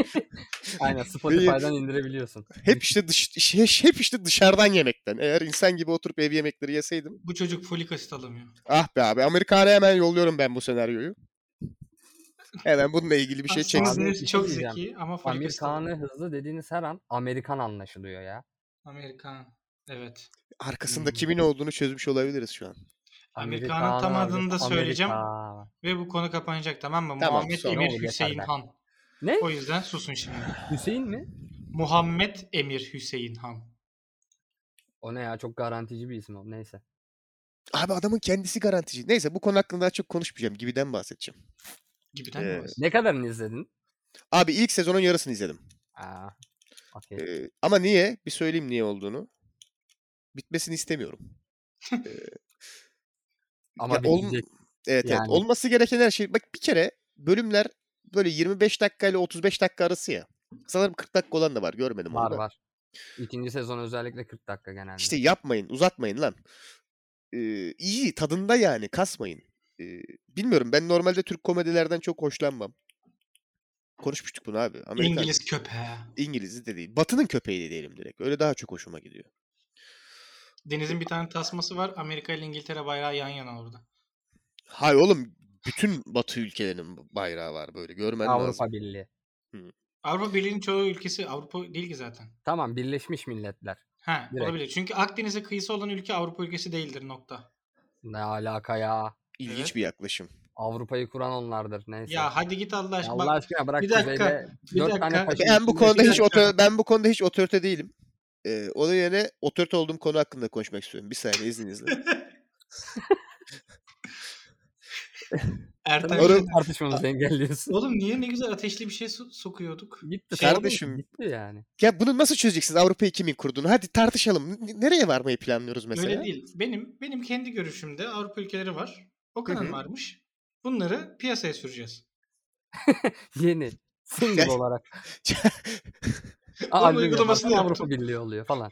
Aynen Spotify'dan indirebiliyorsun.
hep işte dış, şey, hep işte dışarıdan yemekten. Eğer insan gibi oturup ev yemekleri yeseydim.
Bu çocuk folik asit alamıyor.
Ah be abi Amerikan'a hemen yolluyorum ben bu senaryoyu. Hemen bununla ilgili bir şey
Aslında
çeksin.
Abi, bir
Zeus
şey
çok
diyeceğim.
zeki ama folik asit
Amerikanı
alamıyor.
hızlı dediğiniz her an Amerikan anlaşılıyor ya.
Amerikan. Evet.
hmm.
Arkasında kimin olduğunu çözmüş olabiliriz şu an.
Amerikanın tam
Amerikanı,
adını da söyleyeceğim.
Amerika.
Ve bu konu kapanacak tamam mı?
Tamam,
Muhammed
sonra
olur,
Emir
yeter
Hüseyin
ben.
Han.
Ne?
O yüzden susun şimdi.
Hüseyin mi?
Muhammed Emir Hüseyin Han.
O ne ya çok garantici bir isim o. Neyse.
Abi adamın kendisi garantici. Neyse bu konu hakkında daha çok konuşmayacağım. Gibiden bahsedeceğim.
Gibiden
Ee,
mi bahsediyor?
Ne kadarını izledin?
Abi ilk sezonun yarısını izledim.
Aa, okey.
Ee, ama niye? Bir söyleyeyim niye olduğunu. Bitmesini istemiyorum.
Ama
ya olm-
bitecek.
Evet evet.
Yani.
Olması gereken her şey. Bak bir kere bölümler böyle 25 dakika ile 35 dakika arası ya. Sanırım 40 dakika olan da var. Görmedim onu
var
da.
var. İkinci sezon özellikle 40 dakika genelde.
İşte yapmayın, uzatmayın lan. Ee, iyi, tadında yani, kasmayın. Ee, bilmiyorum, ben normalde Türk komedilerden çok hoşlanmam. Konuşmuştuk bunu abi. Amerikan,
İngiliz köpeği.
İngiliz de değil. Batı'nın köpeği de diyelim direkt. Öyle daha çok hoşuma gidiyor.
Deniz'in bir tane tasması var. Amerika ile İngiltere bayrağı yan yana orada.
Hay oğlum, bütün Batı ülkelerinin bayrağı var böyle. Görmen lazım.
Avrupa Birliği.
Avrupa Birliği'nin çoğu ülkesi Avrupa değil ki zaten.
Tamam Birleşmiş Milletler.
Ha,
Direkt.
olabilir. Çünkü Akdeniz'e kıyısı olan ülke Avrupa ülkesi değildir nokta.
Ne alaka ya?
İlginç
Evet.
bir yaklaşım.
Avrupa'yı kuran onlardır. Neyse.
Ya hadi git Allah aşkına.
Allah
Bak,
aşkına bırak
bir dakika,
Kuzey'de
bir
dört
dakika.
tane taşın
Ben bu
içinde-
konuda
bir
hiç
dakika.
otor- ben bu konuda hiç otorite değilim. Ee, onun yerine otorite olduğum konu hakkında konuşmak istiyorum. Bir saniye izninizle.
Ertem
Oğlum-
Şener-
tartışmamızı engelliyorsun.
Oğlum niye ne güzel ateşli bir şey so- sokuyorduk?
Gitti
Şey-
şey
Kardeşim-
Gitti yani.
Ya bunu nasıl çözeceksiniz? Avrupa'yı kimin kurduğunu? Hadi tartışalım. N- Nereye varmayı planlıyoruz mesela?
Öyle değil. Benim benim kendi görüşümde Avrupa ülkeleri var. O kadar
hı.
varmış. Bunları piyasaya süreceğiz.
Yeni. Single
Ya-
olarak. Aa,
Onun
albüm
uygulamasını
yaparsan
yaptım.
Avrupa Birliği oluyor falan.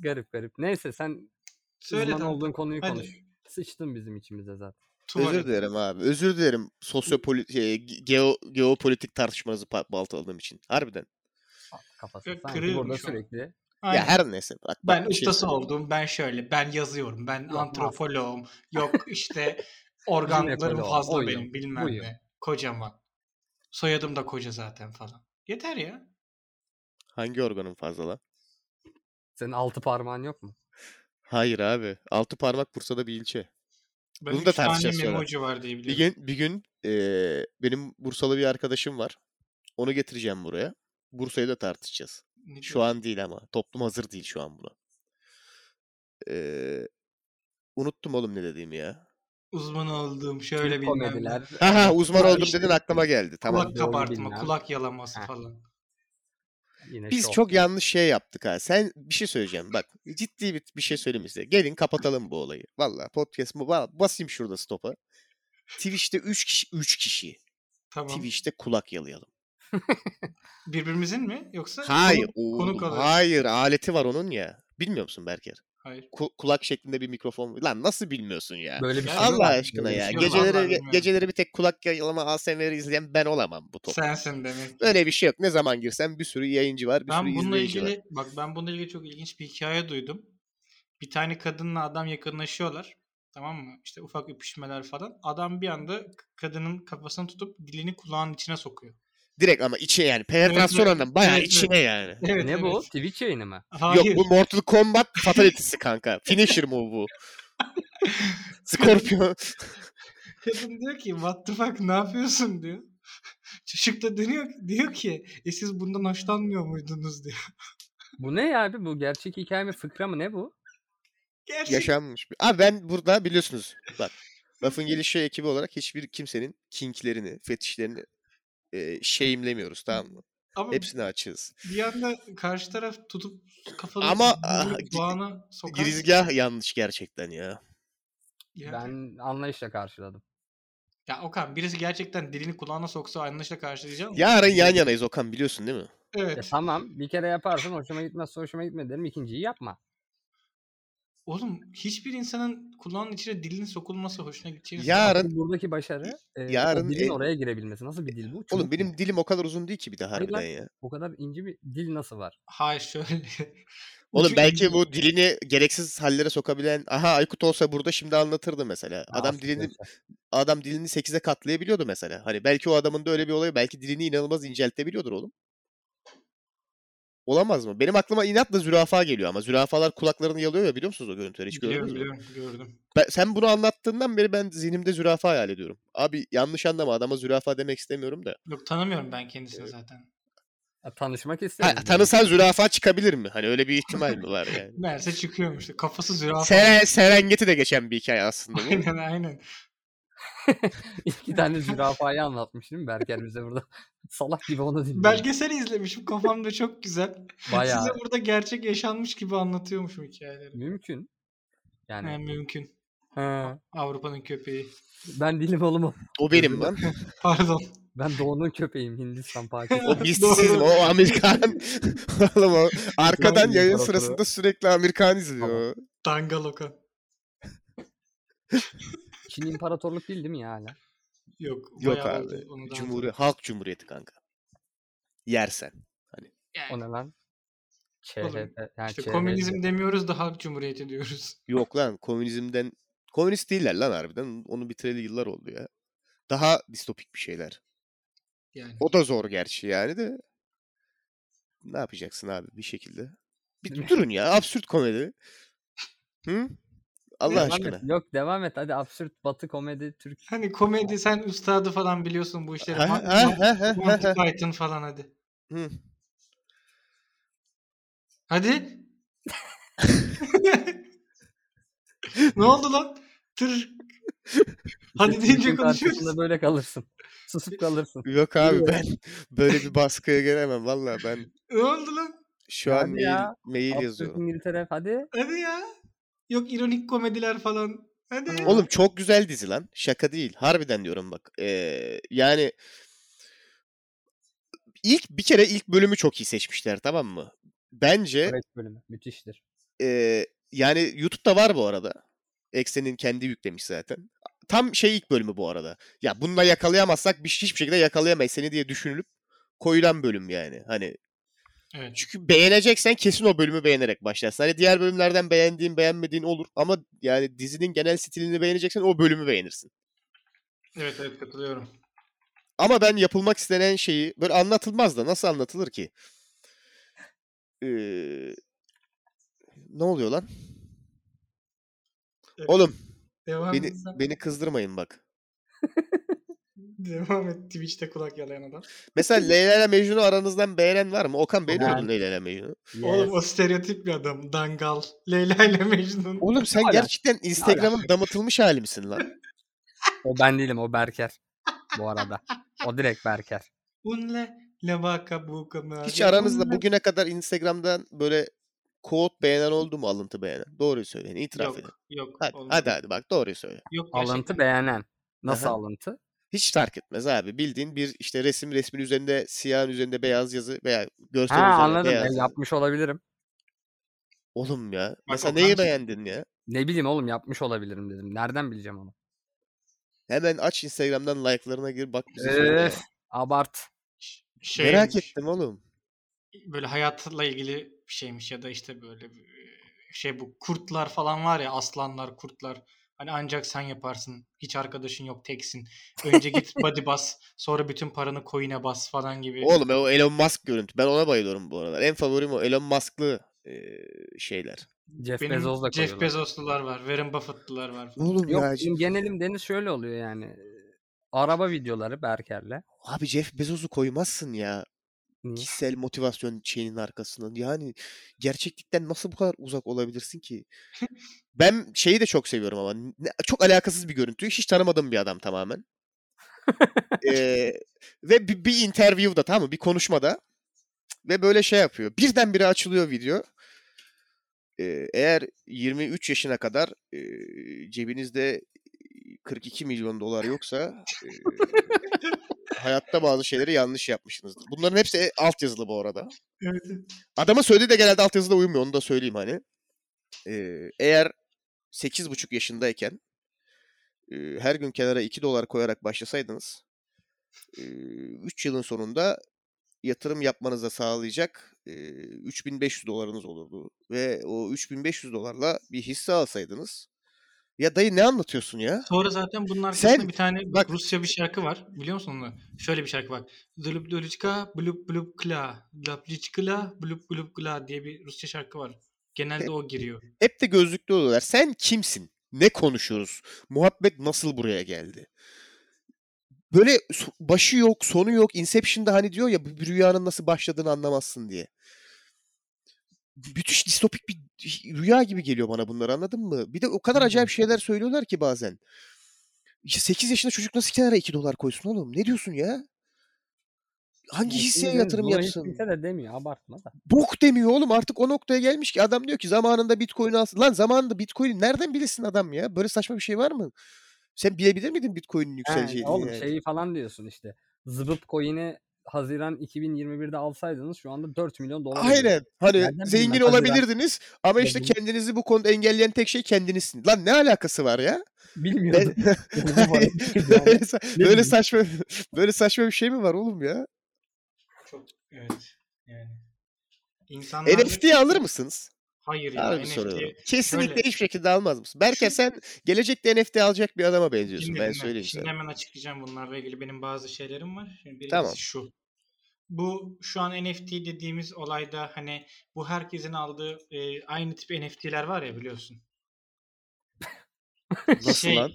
Garip garip. Neyse sen
Söyle
uzman
tamam.
olduğun konuyu
Hadi.
konuş. Sıçtın bizim içimize zaten.
Tuvalet.
Özür dilerim abi. Özür dilerim sosyopoli e, ge- geo geopolitik tartışmanızı pa- baltaladığım için. Harbiden.
Kafası.
Ya
Sanki
kırıyorum
burada
şu an.
sürekli.
Aynen.
Ya her neyse. Bak, bak
ben
bir şey-
ustası oldum. Ben şöyle. Ben yazıyorum. Ben
Yok,
antropoloğum. Yok işte organlarım
Jinekoloğum,
fazla
oyum,
benim bilmem
buyum.
ne. Kocaman. Soyadım da koca zaten falan. Yeter ya.
Hangi organın fazla lan?
Senin altı parmağın yok mu?
Hayır abi. Altı parmak Bursa'da bir ilçe.
Ben
Bunu
üç
da
tane
tartışacağız sonra.
memoji var diye
Bir
biliyorum.
gün bir gün e, benim Bursalı bir arkadaşım var. Onu getireceğim buraya. Bursa'yı da tartışacağız.
Ne
Şu
diyor?
an değil ama. Toplum hazır değil şu an buna. Ee, unuttum oğlum ne dediğimi ya.
uzman oldum. Şöyle bilmem ne.
Komediler.
Aha uzman
Ya
oldum
işte-
dedin aklıma geldi. Tamam.
Kulak
doğru
kabartma,
bilmem.
kulak yalaması
Ha.
falan.
Yine
Biz
şov.
çok yanlış şey yaptık ha. Sen bir şey söyleyeceğim. Bak ciddi bir, bir şey söyleyeyim size. Gelin kapatalım bu olayı. Valla podcast mı? Va- Basayım şurada stopa. Twitch'te 3 kişi 3 kişi.
Tamam.
Twitch'te kulak yalayalım.
Birbirimizin mi yoksa?
Hayır.
konu-
oğlum,
konuk alıyor.
hayır aleti var onun ya. Bilmiyor musun Berker?
Hayır.
Ku- kulak şeklinde bir mikrofon. Lan nasıl bilmiyorsun ya?
Böyle bir
Ya
şey mi
Allah
var?
aşkına
Böyle bir
ya.
şey mi var?
Gece- Vallahi
Geceleri
bilmiyorum.
geceleri bir tek kulak yalama ASMR'i izleyen ben olamam bu toplumda.
Sensin demek.
Öyle bir şey yok. Ne zaman girsem bir sürü yayıncı var, bir sürü
Ben bununla
izleyici var.
ilgili bak ben bununla ilgili çok ilginç bir hikaye duydum. Bir tane kadınla adam yakınlaşıyorlar. Tamam mı? İşte ufak öpüşmeler falan. Adam bir anda k- kadının kafasını tutup dilini kulağının içine sokuyor.
Direkt ama içe yani. Penetrasyon
evet.
anlamı bayağı
Evet, evet.
içine yani.
Evet,
ne bu?
evet.
Twitch yayını mı?
Hayır.
Yok bu Mortal Kombat fatality'si kanka. Finisher move bu. Scorpion.
Kadın diyor ki what the fuck ne yapıyorsun diyor. Çocuk da dönüyor diyor ki e siz bundan hoşlanmıyor muydunuz diyor.
Bu ne ya abi? Bu gerçek hikaye mi? Fıkra mı? Ne bu?
Gerçek
yaşanmış. bir- Abi ben burada biliyorsunuz bak lafın gelişi ekibi olarak hiçbir kimsenin kinklerini, fetişlerini e, şeyimlemiyoruz tamam mı?
ama
Hepsini açığız.
bir yanda karşı taraf tutup kafanı
Ama,
vurup
ah, gi-
bağına sokar.
Girizgah yanlış gerçekten ya.
Yani-
Ben anlayışla karşıladım.
Ya Okan birisi gerçekten dilini kulağına soksa anlayışla karşılayacağım.
Yarın yan yanayız Okan biliyorsun değil mi?
Ya
Evet.
E, tamam bir kere yaparsın hoşuma gitmezse hoşuma gitmedi derim ikinciyi yapma.
Oğlum hiçbir insanın kulağının içine dilinin sokulması hoşuna gideceğini
Yarın
Asıl buradaki başarı e, o
yarın
dilin
el-
oraya girebilmesi. Nasıl bir dil bu? Çubuk
oğlum
mu?
benim dilim o kadar uzun değil ki bir de
Hayır lan.
harbiden ya.
o kadar ince bir dil nasıl var?
Hayır şöyle.
Oğlum
Ucu-
belki bu dilini gereksiz hallere sokabilen aha Aykut olsa burada şimdi anlatırdı mesela.
Ah,
Ya
Adam
az
dilini
geçer.
adam dilini 8'e katlayabiliyordu mesela. Hani belki o adamın da öyle bir olayı belki dilini inanılmaz inceltebiliyordur oğlum. Olamaz mı? Benim aklıma inatla zürafa geliyor ama zürafalar kulaklarını yalıyor ya biliyor musunuz o görüntüleri hiç
Biliyorum,
gördünüz mü?
biliyorum, gördüm.
Ben- sen bunu anlattığından beri ben zihnimde zürafa hayal ediyorum. Abi yanlış anlama adama zürafa demek istemiyorum da.
Yok tanımıyorum ben kendisini zaten.
Ya, tanışmak
Ha,
isterim.
tanısan zürafa çıkabilir mi? Hani öyle bir ihtimal mi var yani?
Meğerse çıkıyormuş. Kafası zürafa.
Seren, Serengeti de geçen bir hikaye aslında bu.
Aynen aynen.
İki tane zürafayı anlatmış değil mi Berker bize burada? Salak gibi onu dinliyor.
Belgesel izlemişim kafamda çok güzel.
Bayağı
Size burada gerçek yaşanmış gibi anlatıyormuşum hikayeleri.
mümkün. Yani
Yani mümkün.
he,
Avrupa'nın köpeği.
ben dilim oğlum.
O benim lan.
Pardon.
Ben doğunun köpeğim Hindistan Pakistan.
O bizsizim. O Amerikan. Oğlum o arkadan
İbrahim
yayın
İmparatoru.
sırasında sürekli Amerikan izliyor.
Dangaloka.
Çin imparatorluk değil değil mi ya hala?
Yok.
Yok
bayağı
abi.
oldu onu da
Cumhuri, halk cumhuriyeti kanka. Yersen.
Yani,
O ne lan? CHP. Yani
işte
CHP.
komünizm demiyoruz da halk cumhuriyeti diyoruz.
Yok lan komünizmden. Komünist değiller lan harbiden. Onu bitireli yıllar oldu ya. Daha distopik bir şeyler.
Yani.
O da zor gerçi yani de. Ne yapacaksın abi bir şekilde?
Değil
Bir
mi?
durun ya. Absürt komedi. Hı? Allah
Devam et,
aşkına.
Yok devam et hadi absürt batı komedi Türk.
Hani komedi sen üstadı falan biliyorsun bu işleri.
Ha,
Ma-
ha,
ma-
ha, ha,
Monty
ha.
Python falan hadi.
Hı.
Hadi. ne oldu lan? Tır. Hadi deyince
Türk'ün karşısında
konuşuyoruz.
böyle kalırsın. Susup kalırsın.
Yok abi ben böyle bir baskıya gelemem. Valla ben
Ne oldu lan?
Şu an
Yani
mail,
ya,
şey
mail
Absürt
yazıyorum.
İngiltere hadi.
Hadi ya. Yok ironik komediler falan. Hadi.
Oğlum çok güzel dizi lan. Şaka değil. Harbiden diyorum bak. Ee, yani ilk bir kere ilk bölümü çok iyi seçmişler tamam mı? Bence
Evet bölümü müthiştir.
ee, yani YouTube'da var bu arada. Eksen'in kendi yüklemiş zaten. Tam şey ilk bölümü bu arada. Ya bununla yakalayamazsak biz hiçbir şekilde yakalayamayız seni diye düşünülüp koyulan bölüm yani. Hani
Evet.
Çünkü beğeneceksen kesin o bölümü beğenerek başlarsın. Hani diğer bölümlerden beğendiğin beğenmediğin olur ama yani dizinin genel stilini beğeneceksen o bölümü beğenirsin.
Evet evet katılıyorum.
Ama ben yapılmak istenen şeyi böyle anlatılmaz da nasıl anlatılır ki? Ee, ne oluyor lan?
Evet,
Oğlum
Devam,
beni
etsen-
beni kızdırmayın bak.
devam et Twitch'te kulak yalayan adam.
Mesela Leyla ile Mecnun'u aranızdan beğenen var mı? Okan beğeniyordun
Ben-
Leyla ile Mecnun'u.
Yes.
Oğlum o stereotip bir adam. Dangal. Leyla ile Mecnun.
Oğlum sen
Hala.
gerçekten Instagram'ın damıtılmış hali misin lan?
O ben değilim o Berker. Bu arada. O direkt Berker.
Unle levaka bukamı.
Hiç aranızda bugüne kadar Instagram'dan böyle quote beğenen oldu mu alıntı beğenen? Doğruyu söyleyin itiraf edin.
Yok yok.
Hadi,
olmadı.
hadi hadi bak doğruyu söyle.
Yok,
Alıntı
gerçekten.
beğenen. Nasıl
Aha.
alıntı?
Hiç fark etmez abi. Bildiğin bir işte resim resmin üzerinde siyahın üzerinde beyaz yazı veya görsel
Ha
üzerinde
anladım.
beyaz
Ben
yazı.
yapmış olabilirim.
Oğlum ya. Mesela
Okan
neyi
şey-
beğendin ya?
Ne bileyim oğlum yapmış olabilirim dedim. Nereden bileceğim onu?
Hemen aç Instagram'dan like'larına gir bak bize söyle ya.
Öf, şey abart.
Şey
Merak ettim oğlum.
Böyle hayatla ilgili e, bir şeymiş ya da işte böyle bir şey bu kurtlar falan var ya aslanlar kurtlar Hani ancak sen yaparsın. Hiç arkadaşın yok teksin. Önce git body bas. Sonra bütün paranı coin'e bas falan gibi.
Oğlum e, o Elon Musk görüntü. Ben ona bayılıyorum bu aralar. En favorim o Elon Musk'lı e, şeyler.
Jeff
Benim
Bezos'la
Jeff
koyuyorlar.
Bezos'lular var. Warren Buffett'lılar var. falan.
Oğlum
Yok
ya.
benim genelim deniz şöyle oluyor yani. Araba videoları Berker'le.
Abi Jeff Bezos'u koymazsın ya.
Niye?
Kişisel motivasyon şeyinin arkasına. Yani gerçeklikten nasıl bu kadar uzak olabilirsin ki? ben şeyi de çok seviyorum ama. ne- Çok alakasız bir görüntü. Hiç tanımadığım bir adam tamamen. Ee, ve bir, bir interview'da tamam mı? Bir konuşmada. Ve böyle şey yapıyor. Birdenbire açılıyor video. Ee, eğer 23 yaşına kadar e, cebinizde 42 milyon dolar yoksa e, hayatta bazı şeyleri yanlış yapmışsınızdır. Bunların hepsi e, altyazılı bu arada.
Evet.
Adama söylediği de genelde altyazıda uymuyor. Onu da söyleyeyim hani. Ee, eğer 8,5 yaşındayken e, her gün kenara 2 dolar koyarak başlasaydınız 3 yılın sonunda yatırım yapmanıza sağlayacak e, 3500 dolarınız olurdu. Ve o 3500 dolarla bir hisse alsaydınız ya dayı ne anlatıyorsun ya?
Sonra zaten bunun arkasında
Sen-
bir tane
bak-
Rusya bir şarkı var. Biliyor musun onu? Şöyle bir şarkı var. Zulup duluçka blup blup kla. Lapliçkla blup blup kla diye bir Rusya şarkı var. Genelde o giriyor.
Hep de gözlüklü oluyorlar. Sen kimsin? Ne konuşuyoruz? Muhabbet nasıl buraya geldi? Böyle so- başı yok, sonu yok. Inception'da hani diyor ya bir rüyanın nasıl başladığını anlamazsın diye. Müthiş distopik bir rüya gibi geliyor bana bunlar anladın mı? Bir de o kadar acayip şeyler söylüyorlar ki bazen. 8 yaşında çocuk nasıl kenara 2 dolar koysun oğlum? Ne diyorsun ya? Hangi hisseye yatırım
Buna hiç
yapsın?
Kimse de demiyor abartma da.
bok demiyor oğlum artık o noktaya gelmiş ki adam diyor ki zamanında bitcoin alsın. Lan zamanında bitcoin nereden bilirsin adam ya? Böyle saçma bir şey var mı? Sen bilebilir miydin bitcoin'in yükseleceğini?
oğlum
Ee,
şey
yani?
şeyi falan diyorsun işte. Zıbıp coin'i Haziran 2021'de alsaydınız şu anda 4 milyon dolar. ediyor.
Aynen. Hani
Nereden
zengin
bilmem, hadi ben-
olabilirdiniz ama işte
Zengin-
kendinizi bu konuda engelleyen tek şey kendinizsiniz. Lan ne alakası var ya?
Bilmiyordum. Yani bu şey arada çıkıyor yani.
böyle, sa-
Ne
böyle
bileyim.
saçma böyle saçma bir şey mi var oğlum ya?
Çok evet. Yani. İnsanlar
NFT'yi alır mısınız?
Hayır ya.
Harbi
NFT
soruyorum. Kesinlikle
şöyle-
hiçbir şekilde almaz mısın? Berker
Şu-
sen gelecekte NFT alacak bir adama benziyorsun.
Şimdi
ben
dinle,
söyleyeyim
Şimdi
sana.
hemen açıklayacağım bunlarla ilgili benim bazı şeylerim var. Şimdi birincisi
Tamam.
şu. Bu şu an NFT dediğimiz olayda hani bu herkesin aldığı e, aynı tip NFT'ler var ya biliyorsun. şey
Nasıl lan?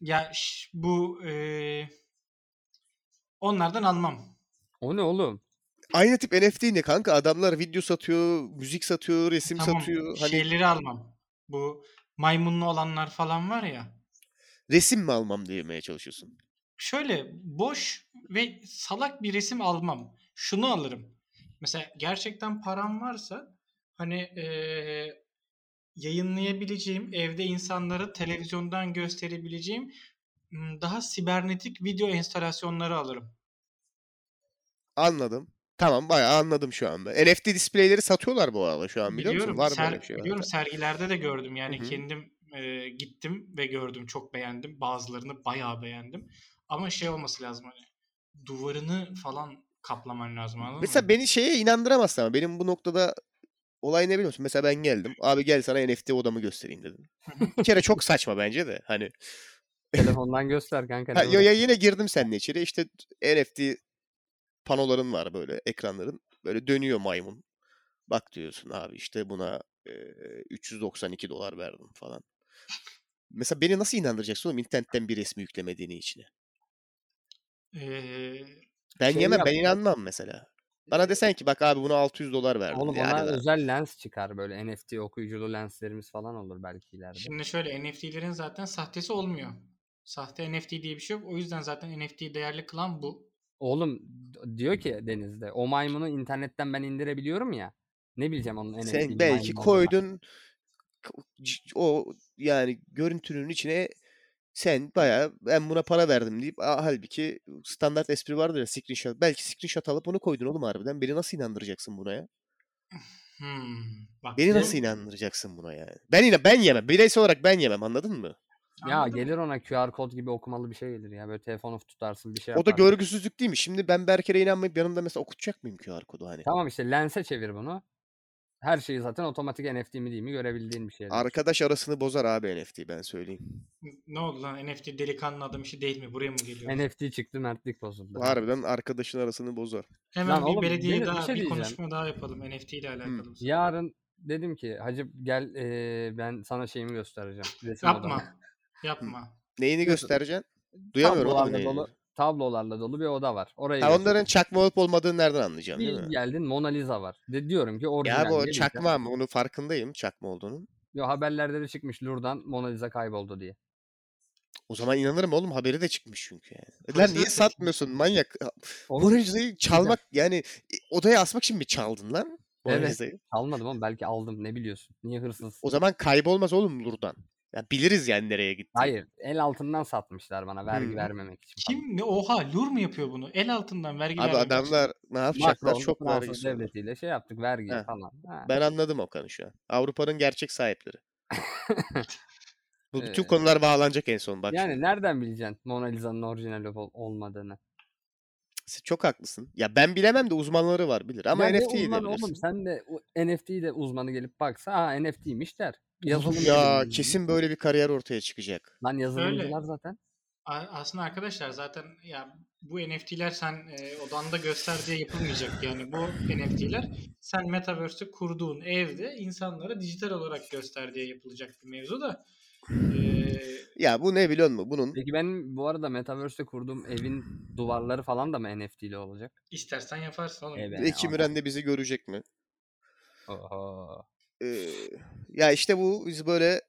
Ya ş- bu e, onlardan almam.
O ne oğlum?
Aynı tip NFT ne kanka? Adamlar video satıyor, müzik satıyor, resim
Tamam.
satıyor. Hani
Şeyleri almam. Bu maymunlu olanlar falan var ya.
resim mi almam demeye çalışıyorsun?
şöyle boş ve salak bir resim almam. Şunu alırım. Mesela gerçekten param varsa hani eee, yayınlayabileceğim, evde insanlara televizyondan gösterebileceğim m, daha sibernetik video enstalasyonları alırım.
Anladım. Tamam bayağı anladım şu anda. NFT displayleri satıyorlar bu arada şu an biliyor
biliyorum,
musun? Var
ser-
böyle bir şey?
biliyorum sergilerde de gördüm. Yani
Hı hı.
kendim eee, gittim ve gördüm. Çok beğendim. Bazılarını bayağı beğendim. Ama şey olması lazım hani duvarını falan kaplaman lazım anladın
Mesela
mı?
beni şeye inandıramazsın ama benim bu noktada olay ne biliyor musun? Mesela ben geldim. Abi gel sana NFT odamı göstereyim dedim. bir kere çok saçma bence de. Hani
Telefondan göster kanka. ne
Ha, yo,
var?
ya yine girdim seninle içeri. İşte NFT panoların var böyle ekranların. Böyle dönüyor maymun. Bak diyorsun abi işte buna e, 392 dolar verdim falan. Mesela beni nasıl inandıracaksın oğlum internetten bir resmi yüklemediğini içine?
Eee,
Ben
Şey
yemem ben
yap-
inanmam mesela. Bana desen ki bak abi buna 600 dolar verdim.
Oğlum
Yani
ona
lan,
özel lens çıkar böyle NFT okuyuculu lenslerimiz falan olur belki ileride.
Şimdi şöyle NFT'lerin zaten sahtesi olmuyor. Sahte NFT diye bir şey yok. O yüzden zaten NFT'yi değerli kılan bu.
Oğlum d- diyor ki
Hmm.
Deniz'de o maymunu internetten ben indirebiliyorum ya. Ne bileceğim onun NFT'li
sen belki
maymunu olduğunu.
koydun k- c- o yani görüntünün içine sen bayağı ben buna para verdim deyip "Aa, halbuki standart espri vardır ya screenshot. Belki screenshot alıp onu koydun oğlum harbiden. Beni nasıl inandıracaksın buna ya?
Hmm. Bak,
Beni
bu-
nasıl inandıracaksın buna yani? Ben yine ben yemem. Bireysel olarak ben yemem anladın mı?
Ya
Anladın mı?
gelir ona QR kod gibi okumalı bir şey gelir ya. Böyle telefonu tutarsın bir şey
O da
yaparsın.
görgüsüzlük değil mi? Şimdi ben Berker'e inanmayıp yanımda mesela okutacak mıyım QR kodu hani?
Tamam işte lense çevir bunu. Her şeyi zaten otomatik NFT mi değil mi görebildiğin bir şey.
Arkadaş arasını bozar abi NFT ben söyleyeyim.
Ne oldu lan NFT delikanlı adam işi değil mi? Buraya mı geliyor?
NFT çıktı mertlik bozuldu.
Harbiden arkadaşın arasını bozar.
Hemen
Lan
bir
oğlum,
belediye
yine bir
daha bir,
şey diyeceğim.
konuşma daha yapalım NFT ile
Hmm.
alakalı. bu sefer.
Yarın dedim ki Hacı gel eee, ben sana şeyimi göstereceğim. resim
Yapma.
odamı."
Yapma.
Neyini
Diyorsun.
göstereceksin? Duyamıyorum abi
Tablolarla
neyini.
dolu, tablolarla dolu bir oda var. Oraya
Ha, onların çakma olup olmadığını nereden anlayacaksın değil
bir
mi?
geldin Mona Lisa var. De diyorum ki orijinal.
Ya bu o
değil mi?
çakma ama onu farkındayım çakma olduğunun.
Yo, haberlerde de çıkmış Lourdes'dan Mona Lisa kayboldu diye.
O zaman inanırım oğlum haberi de çıkmış çünkü yani. E, Lan
Polisler
niye
de-
satmıyorsun manyak?
Onu
Mona Lisa'yı çalmak yani e, odaya asmak için mi çaldın lan? Mona
Evet.
Lisa'yı?
almadım ama belki aldım ne biliyorsun. Niye hırsız?
O zaman kaybolmaz oğlum Lur'dan. Ya biliriz yani nereye gitti.
Hayır el altından satmışlar bana vergi
Hmm.
vermemek için. falan.
Kim? Ne? Oha Lur mu yapıyor bunu? El altından vergi
Abi
vermemek için.
adamlar ne yapacaklar?
Macron'da
Çok
Fransız
vergisi olur.
devletiyle şey yaptık vergi
Heh.
falan. Ha.
Ben anladım Okan'ı şu an. Avrupa'nın gerçek sahipleri. Bu bütün
Ee,
konular bağlanacak en son bak.
yani
şimdi.
nereden bileceksin Mona Lisa'nın orijinal ol- olmadığını?
Sen Çok haklısın. Ya ben bilemem de uzmanları var bilir. Ama
Ya ne
NFT'yi de
uzmanı oğlum
bilirsin.
sen de NFT'yi de uzmanı gelip baksa ha NFT'ymiş der. Yazılım
Ya
biliminin-
kesin böyle bir kariyer ortaya çıkacak.
Lan yazılımcılar zaten.
A- Aslında arkadaşlar zaten ya bu NFT'ler sen e, odanda göster diye yapılmayacak yani bu NFT'ler sen metaverse'te kurduğun evde insanlara dijital olarak göster diye yapılacak bir mevzu da e,
Ya bu ne biliyor musun? Bunun
Peki benim bu arada Metaverse'te kurduğum evin duvarları falan da mı NFT'li olacak?
istersen yaparsın oğlum.
Evet.
Eki
ama-
Müren de bizi görecek mi?
Oho.
Ee, ya işte bu biz böyle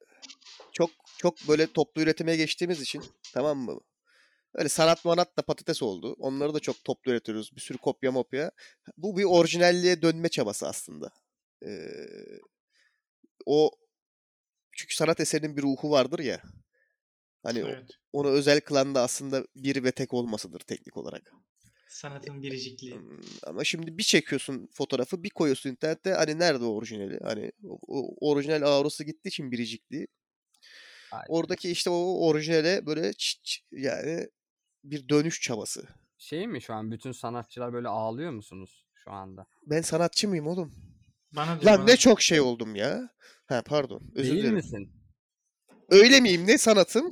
çok çok böyle toplu üretime geçtiğimiz için tamam mı? Öyle sanat manat da patates oldu. Onları da çok toplu üretiyoruz. Bir sürü kopya mopya. Bu bir orijinalliğe dönme çabası aslında. Ee, o çünkü sanat eserinin bir ruhu vardır ya. Hani o-
Evet.
onu özel kılan da aslında bir ve tek olmasıdır teknik olarak.
Sanatın biricikliği.
Hmm, Ama şimdi bir çekiyorsun fotoğrafı bir koyuyorsun internette hani nerede o orijinali? Hani o, o orijinal aurası gittiği için biricikliği.
Aynen.
Oradaki işte o orijinale böyle ç- ç- yani bir dönüş çabası.
Şey mi şu an bütün sanatçılar böyle ağlıyor musunuz şu anda?
Ben sanatçı mıyım oğlum?
Bana diyor
Lan
bana.
ne çok şey oldum ya. Ha pardon. Özür
Değil
dilerim.
misin?
Öyle miyim ne sanatım?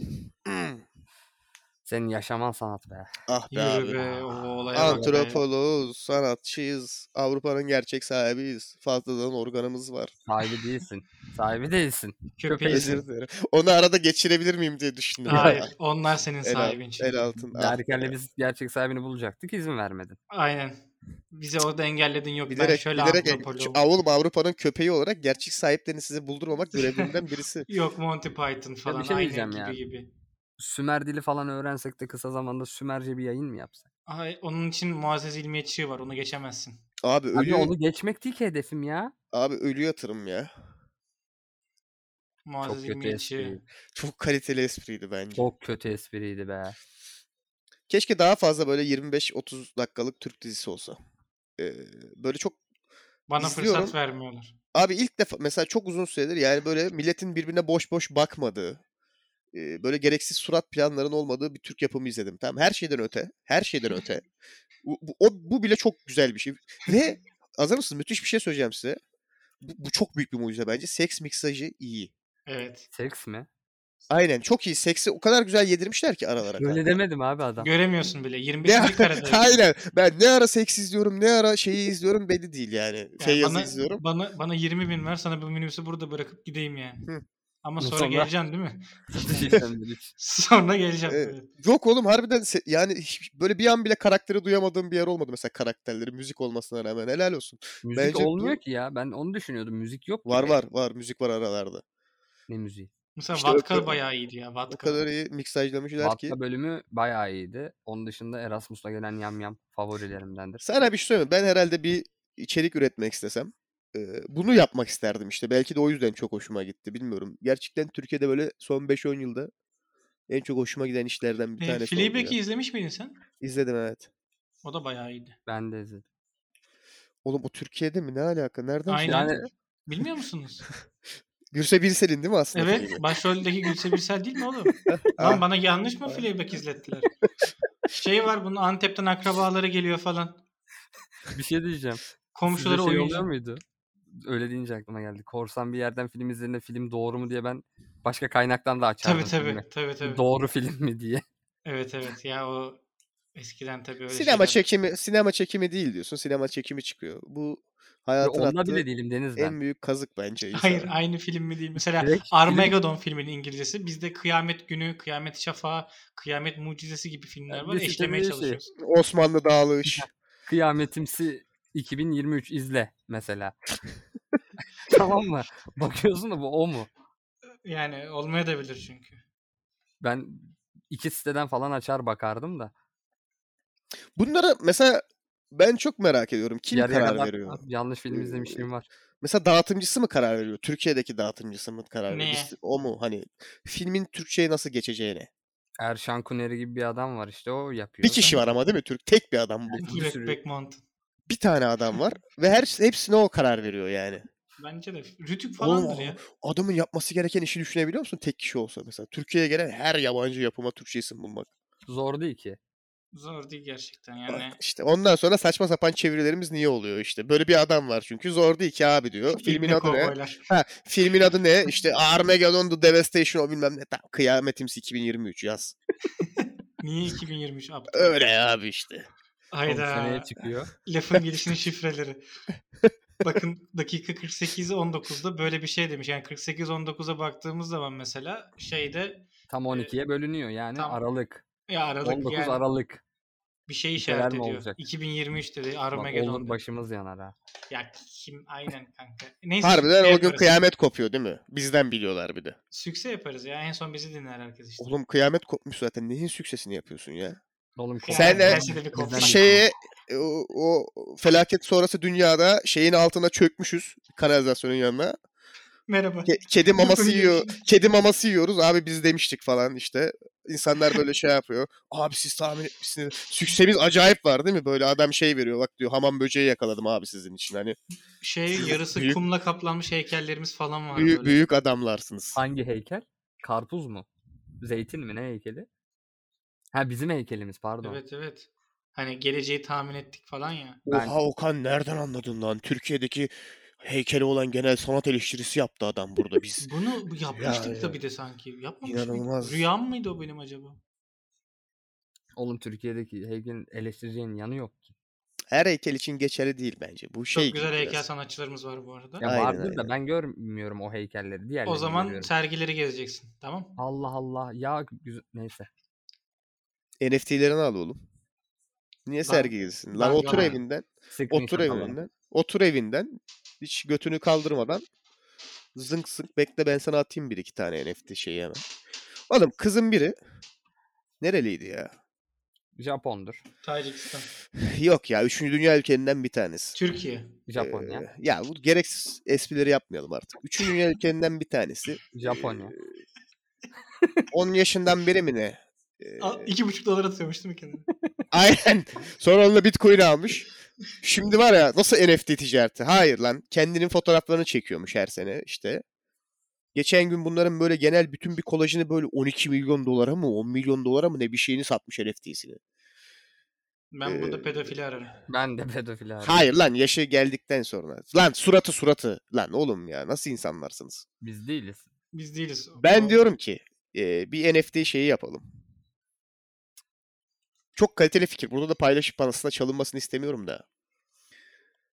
Senin yaşaman sanat be.
ah be
Yürü
abi.
be o olaya bak be.
Antropoloğuz, sanatçıyız, Avrupa'nın gerçek sahibiyiz. Fazladan organımız var.
Sahibi değilsin. Sahibi değilsin.
Köpeğisin.
Özür dilerim. Onu arada geçirebilir miyim diye düşündüm.
Hayır onlar senin
El, al-
sahibin.
el altın. ah
Berker'le
be.
biz gerçek sahibini bulacaktık izin vermedin.
Aynen. Bize orada engelledin yok. ben
Bilerek,
şöyle
bilerek en-
antropoloğum.
Ç- oğlum Avrupa'nın köpeği olarak gerçek sahiplerini size buldurmamak görevlerinden birisi.
Yok Monty Python falan
şey
aynen
diyeceğim
gibi
ya.
gibi.
Sümer dili falan öğrensek de kısa zamanda Sümerce bir yayın mı yapsak?
Ay, onun için Muazzez İlmiye çığ var. Onu geçemezsin.
Abi
Abi
ölü,
onu geçmek değil ki hedefim ya.
abi ölü yatırım ya.
Muazzez
Çok kötü
İlmiye çığ.
espriydi.
Çok kaliteli espriydi bence.
Çok kötü espriydi be.
Keşke daha fazla böyle 25-30 dakikalık Türk dizisi olsa. Ee, böyle çok
Bana
İzliyorum.
fırsat vermiyorlar.
Abi ilk defa mesela çok uzun süredir yani böyle milletin birbirine boş boş bakmadığı, e, böyle gereksiz surat planların olmadığı bir Türk yapımı izledim. Tamam her şeyden öte, her şeyden öte. Bu, bu- o, bu bile çok güzel bir şey. Ve hazır mısınız? Müthiş bir şey söyleyeceğim size. Bu, bu çok büyük bir mucize bence. Seks miksajı iyi.
Evet.
Seks mi?
Aynen çok iyi. Seksi o kadar güzel yedirmişler ki aralara.
Öyle
kanka.
demedim abi adam.
Göremiyorsun bile. 25.
Ne,
karede.
aynen. Ben ne ara seks izliyorum, ne ara şeyi izliyorum belli değil yani.
Yani
Feyyaz'ı
bana,
izliyorum.
Bana, bana 20 bin ver sana bu minibüsü burada bırakıp gideyim yani.
Hı.
Ama
Bu
sonra,
sonra-
geleceksin değil mi?
Seks
Sonra geleceğim.
Evet.
Evet.
Yok oğlum harbiden se- yani hiç- böyle bir an bile karakteri duyamadığım bir yer olmadı mesela karakterleri müzik olmasına rağmen helal olsun.
müzik
Bence bu-
olmuyor ki ya. Ben onu düşünüyordum. Müzik yok ki.
Var var var müzik var aralarda.
Ne müziği?
Mesela
İşte o
Vatka
kadar-
bayağı iyiydi ya.
O
Vatka.
kadar iyi miksajlamışlar ki.
Vatka bölümü bayağı iyiydi. Onun dışında Erasmus'la gelen yamyam favorilerimdendir.
Sana bir şey söyleyeyim mi? Ben herhalde bir içerik üretmek istesem e, bunu yapmak isterdim işte. Belki de o yüzden çok hoşuma gitti bilmiyorum. Gerçekten Türkiye'de böyle son 5-10 yılda en çok hoşuma giden işlerden bir
Ee,
tanesi oldu
Fleabag'i
ya.
izlemiş miydin sen?
İzledim evet.
O da bayağı iyiydi.
Ben de izledim.
Oğlum o Türkiye'de mi? Ne alaka? Nereden?
Aynen.
şey-
Yani
Bilmiyor musunuz?
Gürse Birsel'in değil mi aslında?
evet.
filmi?
Başroldeki Gülse Birsel değil mi oğlum? Lan bana yanlış mı Fleabag izlettiler? şey var bunun Antep'ten akrabaları geliyor falan.
bir şey diyeceğim.
Komşuları
Size şey oluyor
oyuncu.
muydu? öyle deyince aklıma geldi. Korsan bir yerden film izlerine film doğru mu diye ben başka kaynaktan da açardım.
Tabii tabii,
filmi.
tabii tabii.
Doğru film mi diye.
Evet evet ya o eskiden tabii öyle
Sinema
şeyler-
çekimi sinema çekimi değil diyorsun. Sinema çekimi çıkıyor. Bu hayatın
Onda
attığı
bile değilim Deniz ben.
en büyük kazık bence.
Hayır
insana.
aynı film mi değil. Mesela
Direkt
Armageddon filminin İngilizcesi bizde Kıyamet Günü, Kıyamet Şafağı, Kıyamet Mucizesi gibi filmler
Ya
var.
biz işte
işlemeye
böyle şey-
çalışıyoruz.
Osmanlı dağılış.
Kıyametimsi 2023 izle mesela. tamam mı? Bakıyorsun da bu o mu?
Yani olmaya da bilir çünkü.
Ben iki siteden falan açar bakardım da.
Bunlara mesela ben çok merak ediyorum. Kim
Yarıya
karar
kadar
veriyor?
Yanlış film
Ee,
izlemişliğim var.
Mesela dağıtımcısı mı karar veriyor? Türkiye'deki dağıtımcısı mı karar veriyor?
Neye?
Biz- O mu hani filmin Türkçe'ye nasıl geçeceğine?
Erşan Kuneri gibi bir adam var işte o yapıyor.
Bir kişi
Ben-
var ama değil mi? Türk tek bir adam bu.
Bir
Black
sürü-
Backmount.
Bir tane adam var ve her hepsine o karar veriyor yani.
Bence de. Rütük
Oğlum,
falandır ya.
Adamın yapması gereken işi düşünebiliyor musun tek kişi olsa mesela? Türkiye'ye gelen her yabancı yapıma Türkçe isim bulmak.
Zor değil ki.
Zor değil gerçekten yani.
İşte ondan sonra saçma sapan çevirilerimiz niye oluyor işte? Böyle bir adam var çünkü zor değil ki abi diyor. Filmin
İbne
adı ne?
kovboylar.
Ha, filmin adı ne? İşte Armageddon The Devastation o bilmem ne. Tamam, Kıyametimsi 2023 yaz.
Niye 2023 aptal?
Öyle abi işte.
Hayda.
Hayda.
seneye çıkıyor.
Lafın gelişinin şifreleri. Bakın dakika 48'i 19'da böyle bir şey demiş. Yani 48-19'a baktığımız zaman mesela şeyde
Tam 12'ye bölünüyor yani
Ee, tam
Aralık.
ya aralık
19
yani
Aralık.
bir şey
şeyler
işaret
mi
ediyor.
olacak?
2023 dedi
Bak,
Armageddon.
olur
dedi.
başımız yanar ha.
Ya kim aynen kanka. Neyse.
Harbiden
sükse
o gün
yaparız.
kıyamet kopuyor değil mi? Bizden biliyorlar bir de.
Sükse yaparız ya. En son bizi dinler herkes işte.
Oğlum kıyamet kopmuş zaten. Neyin süksesini yapıyorsun ya?
Oğlum
Yani
Sen de-
gelse bir
Bizden
kopar.
de-
Şeye e, o, o felaket sonrası dünyada şeyin altına çökmüşüz kanalizasyonun yanına.
Merhaba.
Ke- kedi maması
Yapın
yiyor. Kedi maması yiyoruz. Abi biz demiştik falan işte. İnsanlar böyle şey yapıyor. Abi siz tahmin etmişsiniz. Süksemiz acayip var değil mi? Böyle adam şey veriyor. Bak diyor hamam böceği yakaladım abi sizin için. Hani
Şey yarısı
Büyük-
kumla kaplanmış heykellerimiz falan var
büyük,
böyle.
büyük adamlarsınız.
Hangi heykel? Karpuz mu? Zeytin mi ne heykeli? Ha bizim heykelimiz pardon.
Evet evet. Hani geleceği tahmin ettik falan ya.
Ben-
Oha Okan nereden anladın lan? Türkiye'deki heykeli olan genel sanat eleştirisi yaptı adam burada biz.
Bunu bu- yapmıştık da
ya.
bir de sanki. Yapmamış
İnanılmaz.
mıydık? Rüyam mıydı o benim acaba?
Oğlum Türkiye'deki heykelin eleştireceğin yanı yok ki.
Her heykel için geçerli değil bence. Bu şey
Çok güzel
gibi
heykel
biraz.
sanatçılarımız var bu arada.
Ya
Aynen,
vardır da
aynen.
ben görmüyorum o heykelleri. Diğerlerini
o zaman
görüyorum.
sergileri gezeceksin. Tamam?
Allah Allah. Ya güzel. Neyse.
NFT'lerini al oğlum. Niye sergi gezsin? Lan
ben
otur
yalan-
evinden.
Sıkmayın
Otur
kafalarını.
evinden. Otur evinden. Hiç götünü kaldırmadan zınk zınk bekle ben sana atayım bir iki tane NFT şeyi hemen. Oğlum kızın biri nereliydi ya?
Japondur.
Tacikistan.
Yok ya 3. dünya ülkelerinden bir tanesi.
Türkiye.
Japonya.
Ee, ya bu gereksiz esprileri yapmayalım artık. 3. dünya ülkelerinden bir tanesi.
Japonya.
e, 10 yaşından beri mi ne? Ee,
Al, iki buçuk dolar atıyormuş değil mi kendine?
Aynen. Sonra onunla Bitcoin almış. Şimdi var ya nasıl NFT ticareti? Hayır lan. Kendinin fotoğraflarını çekiyormuş her sene işte. Geçen gün bunların böyle genel bütün bir kolajını böyle 12 milyon dolara mı 10 milyon dolara mı ne bir şeyini satmış NFT'sini.
Ben burada
Ee,
pedofili ararım.
Ben de pedofil abi.
Hayır lan yaşı geldikten sonra. Lan suratı suratı. Lan oğlum ya nasıl insanlarsınız?
Biz değiliz.
Biz değiliz.
Ben
O-
diyorum ki e, bir NFT şeyi yapalım. Çok kaliteli fikir. Burada da paylaşıp aslında çalınmasını istemiyorum da.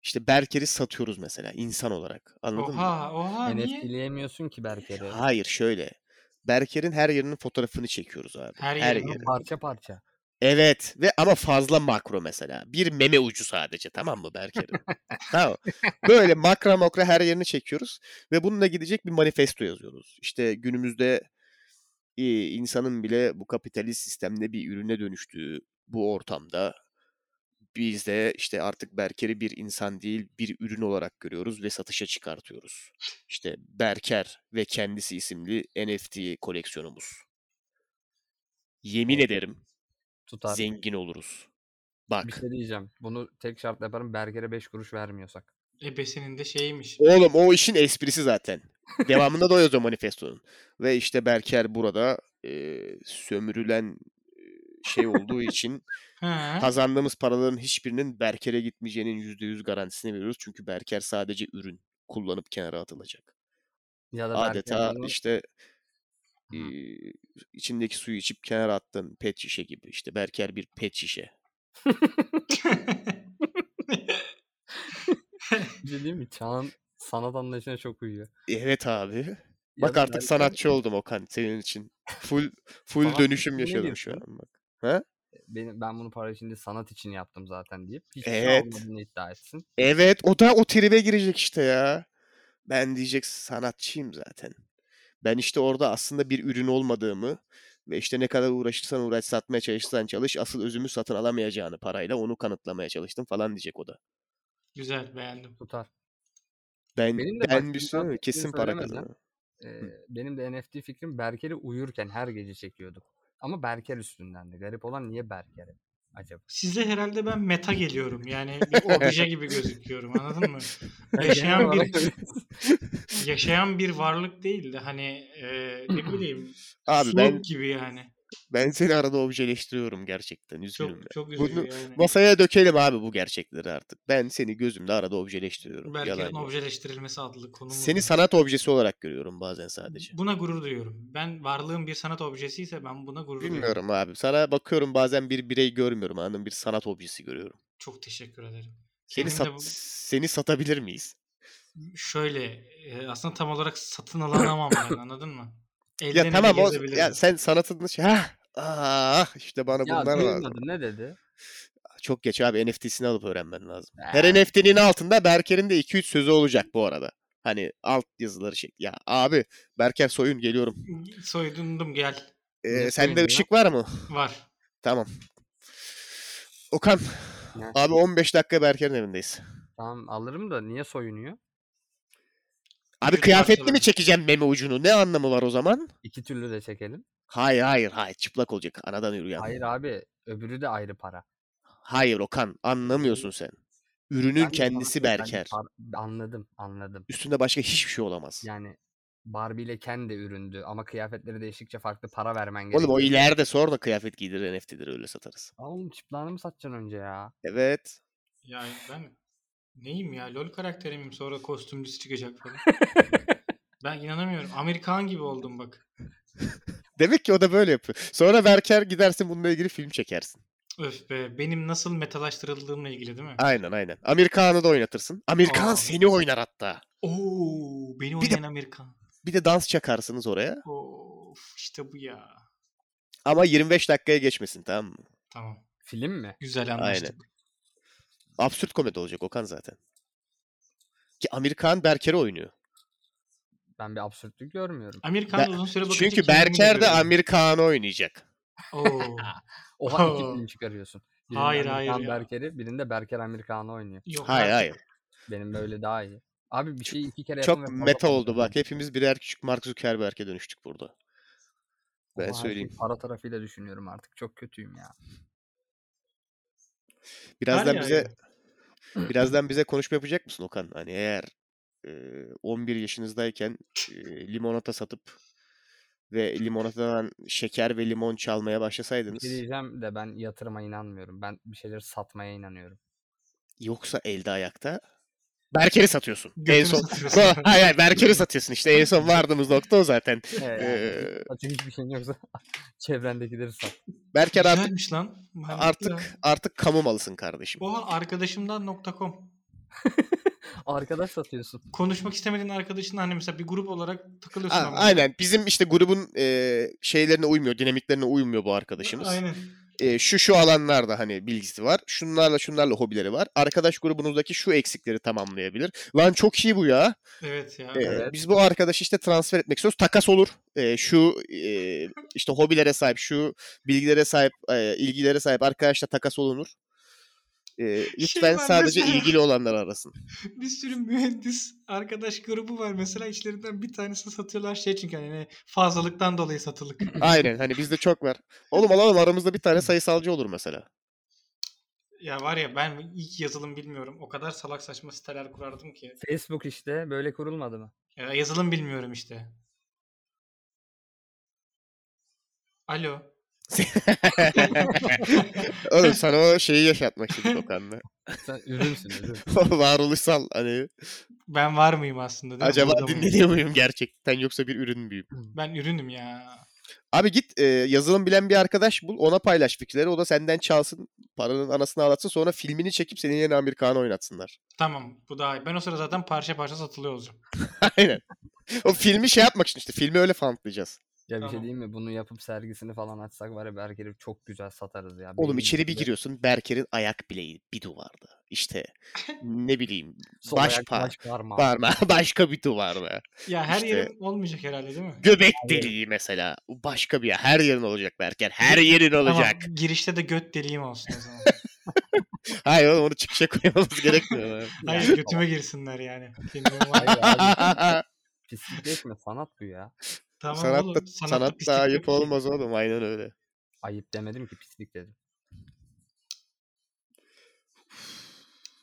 İşte Berker'i satıyoruz mesela insan olarak. Anladın mı?
Oha oha niye?
NFT'leyemiyorsun ki Berker'i.
Hayır şöyle. Berker'in her yerinin fotoğrafını çekiyoruz abi.
Her
yeri.
yerinin
Parça parça.
Evet ve ama fazla makro mesela. Bir meme ucu sadece tamam mı Berker'in? tamam. Böyle makra makra her yerini çekiyoruz ve bununla gidecek bir manifesto yazıyoruz. İşte günümüzde e, insanın bile bu kapitalist sistemde bir ürüne dönüştüğü bu ortamda biz de işte artık Berker'i bir insan değil bir ürün olarak görüyoruz ve satışa çıkartıyoruz. İşte Berker ve kendisi isimli NFT koleksiyonumuz. Yemin ederim
Tutar.
zengin oluruz. Bak.
Bir şey diyeceğim. Bunu tek şartla yaparım. Berker'e 5 kuruş vermiyorsak.
Ebesinin E, de şeymiş.
Oğlum o işin esprisi zaten. Devamında da o yazıyor manifestonun. Ve işte Berker burada e, sömürülen e, şey olduğu için
Ha.
kazandığımız paraların hiçbirinin Berker'e gitmeyeceğinin %100 garantisini veriyoruz. Çünkü Berker sadece ürün. kullanıp kenara atılacak.
Ya da
Adeta
Berkay'ın-
işte
Hı.
eee, içindeki suyu içip kenara attığın pet şişe gibi işte Berker bir pet şişe.
Bir şey değil mi? Çağın sanat anlayışına çok uyuyor.
Evet abi.
Ya
Bak
da
artık
Berkay-
sanatçı oldum Okan senin için. Full full
Sanat
dönüşüm
ne
yaşadım şu an
diyorsun?
bak.
Benim, ben bunu para içinde sanat için yaptım zaten deyip hiçbir
Evet.
şey olmadığını iddia etsin.
Evet o da o tribe girecek işte ya. Ben diyecek sanatçıyım zaten. Ben işte orada aslında bir ürün olmadığımı ve işte ne kadar uğraşırsan uğraş satmaya çalışırsan çalış asıl özümü satın alamayacağını parayla onu kanıtlamaya çalıştım falan diyecek o da.
Güzel beğendim.
Tutar.
Ben
Benim de bak
ben bir
insan
sürü-
fikrini
kesin para
söylemeden-
kazanırım.
Ee, benim de NFT fikrim Berker'i uyurken her gece çekiyorduk. Ama Berker üstündendi. Garip olan niye Berker'e acaba?
Size herhalde ben meta geliyorum. Yani bir obje gibi gözüküyorum anladın mı? Yaşayan
Genel
bir
olarak
yaşayan bir varlık değil de hani e, ne bileyim
Abi
Snoop
ben
gibi yani.
ben seni arada objeleştiriyorum gerçekten üzgünüm.
Çok çok
Bunu-
üzücü yani.
Masaya dökelim abi bu gerçekleri artık. Ben seni gözümde arada objeleştiriyorum. Yalan
Berker'in
yok.
objeleştirilmesi adlı konumuz.
Seni
var.
sanat objesi olarak görüyorum bazen sadece.
Buna gurur duyuyorum. Ben varlığım bir sanat objesi ise ben buna gurur duyuyorum.
Bilmiyorum abi. Sana bakıyorum bazen bir birey görmüyorum. Anladın mı? bir sanat objesi görüyorum.
Çok teşekkür ederim.
Seni
Senin de
sat seni satabilir miyiz?
bu- şöyle e, aslında tam olarak satın alınamam yani anladın mı? Elden
Ya
ele
tamam o
gezebilirim.
ya sen sanatını şey ha ah işte bana
ya
bunlar lazım.
duymadı ne dedi?
Çok geç abi NFT'sini alıp öğrenmen lazım.
Ha.
Her NFT'nin altında Berker'in de 2-3 sözü olacak bu arada. Hani alt yazıları şey. Ya abi Berker soyun geliyorum.
Soyundum gel.
Ee,
Ne
sende
soyunu ya?
ışık var mı?
Var.
Tamam. Okan
Ne?
abi 15 dakika Berker'in evindeyiz.
Tamam alırım da niye soyunuyor?
Abi
Vücut
kıyafetli mi
parçaları. çekeceğim
çekeceğim meme ucunu? Ne anlamı var o zaman?
İki türlü de çekelim.
Hayır hayır hayır çıplak olacak anadan yürüyen. Hayır.
Hayır abi öbürü de ayrı para.
Okan anlamıyorsun sen. Ürünün
Ben de sana
kendisi
diyorum, bence
Berker.
par- anladım anladım.
Üstünde başka hiçbir şey olamaz.
Yani Barbie ile Ken de üründü ama kıyafetleri değiştikçe farklı para vermen gerekiyor.
Oğlum o ileride sonra kıyafet giydirir NFT'dir öyle satarız.
Oğlum çıplağını mı satacaksın önce ya?
Evet.
Ya ben neyim ya? LOL karakteri miyim? Sonra kostümcüsü çıkacak falan. ben inanamıyorum. Amerikan gibi oldum bak.
Demek ki o da böyle yapıyor. Sonra Berker gidersin bununla ilgili film çekersin.
Öf be. Benim nasıl metalaştırıldığımla ilgili değil mi?
Aynen aynen. Amerikan'ı da oynatırsın. Amerikan
Aa.
seni oynar hatta.
Oo, beni
Bir de-
oynayan Amerikan.
Bir de dans çakarsınız oraya.
Of işte bu ya.
Ama 25 dakikaya geçmesin tamam mı?
Tamam.
Film mi?
Güzel anlaştık.
Absürt komedi olacak Okan zaten. Ki Amerikan Berker'i oynuyor.
Ben bir absürtlük görmüyorum.
Amerikan
Ber-
uzun süre bakınca
Çünkü
kendimi
Berker de
görüyorum.
Amerikan'ı oynayacak.
Oo.
Oha iki
Oo.
film çıkarıyorsun.
Hayır, hayır
Amerikan
ya.
Berker'i birinde Berker Amerikan'ı oynuyor.
Yok
Hayır
artık.
hayır.
Benim böyle daha iyi. Abi bir şeyi iki kere yapın
Çok
ve fazla
meta oldu
konuşmayın.
bak. Hepimiz birer küçük Mark Zuckerberg'e dönüştük burada.
Ama
Ben
her şeyi
söyleyeyim.
Para tarafıyla düşünüyorum artık. Çok kötüyüm ya.
Birazdan
Her
bize
yerde.
birazdan bize konuşma yapacak mısın Okan? Hani eğer e, 11 yaşınızdayken e, limonata satıp ve limonatadan şeker ve limon çalmaya
Bir
başlasaydınız
şey diyeceğim de ben yatırıma inanmıyorum. Ben bir şeyleri satmaya inanıyorum.
yoksa elde ayakta Berker'i satıyorsun. en
Götünü
son
satıyorsun.
hayır hayır Berker'i satıyorsun işte en son vardığımız nokta o zaten.
Evet.
Ee,
Açık hiçbir şeyin yoksa çevrendekileri sat.
Berker artık
Güzelmiş lan. Ben-
artık artık kamu malısın kardeşim.
Oha arkadaşımdan.com.
Arkadaş satıyorsun.
Konuşmak istemediğin arkadaşınla hani mesela bir grup olarak
A-
takılıyorsun. ama.
aynen bizim işte grubun e, şeylerine uymuyor, dinamiklerine uymuyor bu arkadaşımız.
Aynen.
E, şu şu alanlarda hani bilgisi var. Şunlarla şunlarla hobileri var. Arkadaş grubunuzdaki şu eksikleri tamamlayabilir. Lan çok iyi bu ya.
Evet ya.
E,
Evet.
Biz bu arkadaşı işte transfer etmek istiyoruz. Takas olur. E, şu e, işte hobilere sahip, şu bilgilere sahip, e, ilgilere sahip arkadaşla takas olunur. E, lütfen
Şey var
sadece
mesela.
ilgili olanlar arasın.
bir sürü mühendis arkadaş grubu var mesela içlerinden bir tanesi satıyorlar şey çünkü hani fazlalıktan dolayı satılık.
Aynen hani bizde çok var. Oğlum alalım aramızda bir tane sayısalcı olur mesela.
ya var ya ben ilk yazılım bilmiyorum. O kadar salak saçma siteler kurardım ki.
Facebook işte böyle kurulmadı mı?
Ya yazılım bilmiyorum işte. Alo.
Oğlum sana o şeyi yaşatmak için Okan'la.
Sen ürünsün ürün.
O varoluşsal hani
Ben var mıyım aslında? değil mi? Burada
Acaba
mıyım?
dinleniyor muyum gerçekten yoksa bir ürün müyüm?
Ben ürünüm ya.
Abi git e, yazılım bilen bir arkadaş bul ona paylaş fikirleri o da senden çalsın paranın anasını ağlatsın sonra filmini çekip senin yerine Amir Kağan'ı oynatsınlar.
Tamam bu daha iyi. Ben o sırada zaten parça parça satılıyor olacağım.
Aynen. O filmi şey yapmak için işte filmi öyle fantlayacağız.
Ya bir şey
Tamam.
diyeyim mi? Bunu yapıp sergisini falan açsak var ya Berker'i çok güzel satarız ya.
Oğlum
Benim
içeri bir
gibi
giriyorsun Berker'in ayak bileği bir duvarda. İşte ne bileyim
sol
baş
ayak,
par-
baş parmağı.
parmağı başka bir duvarda.
Ya her
İşte.
yerim olmayacak herhalde değil mi?
Göbek deliği mesela. Başka bir yer. Her yerin olacak Berker. Her yerin olacak.
Tamam, girişte de göt deliğim olsun o zaman.
Hayır oğlum onu çıkışa koymamız gerekmiyor. mu?
Hayır götüme girsinler yani. Bilmiyorum var.
Hayır abi, Pislik etme sanat bu ya.
tamam
sanat da,
oğlum, sanatta
sanat
pislik
da
yok.
ayıp olmaz oğlum. Aynen öyle.
Ayıp demedim ki pislik dedim.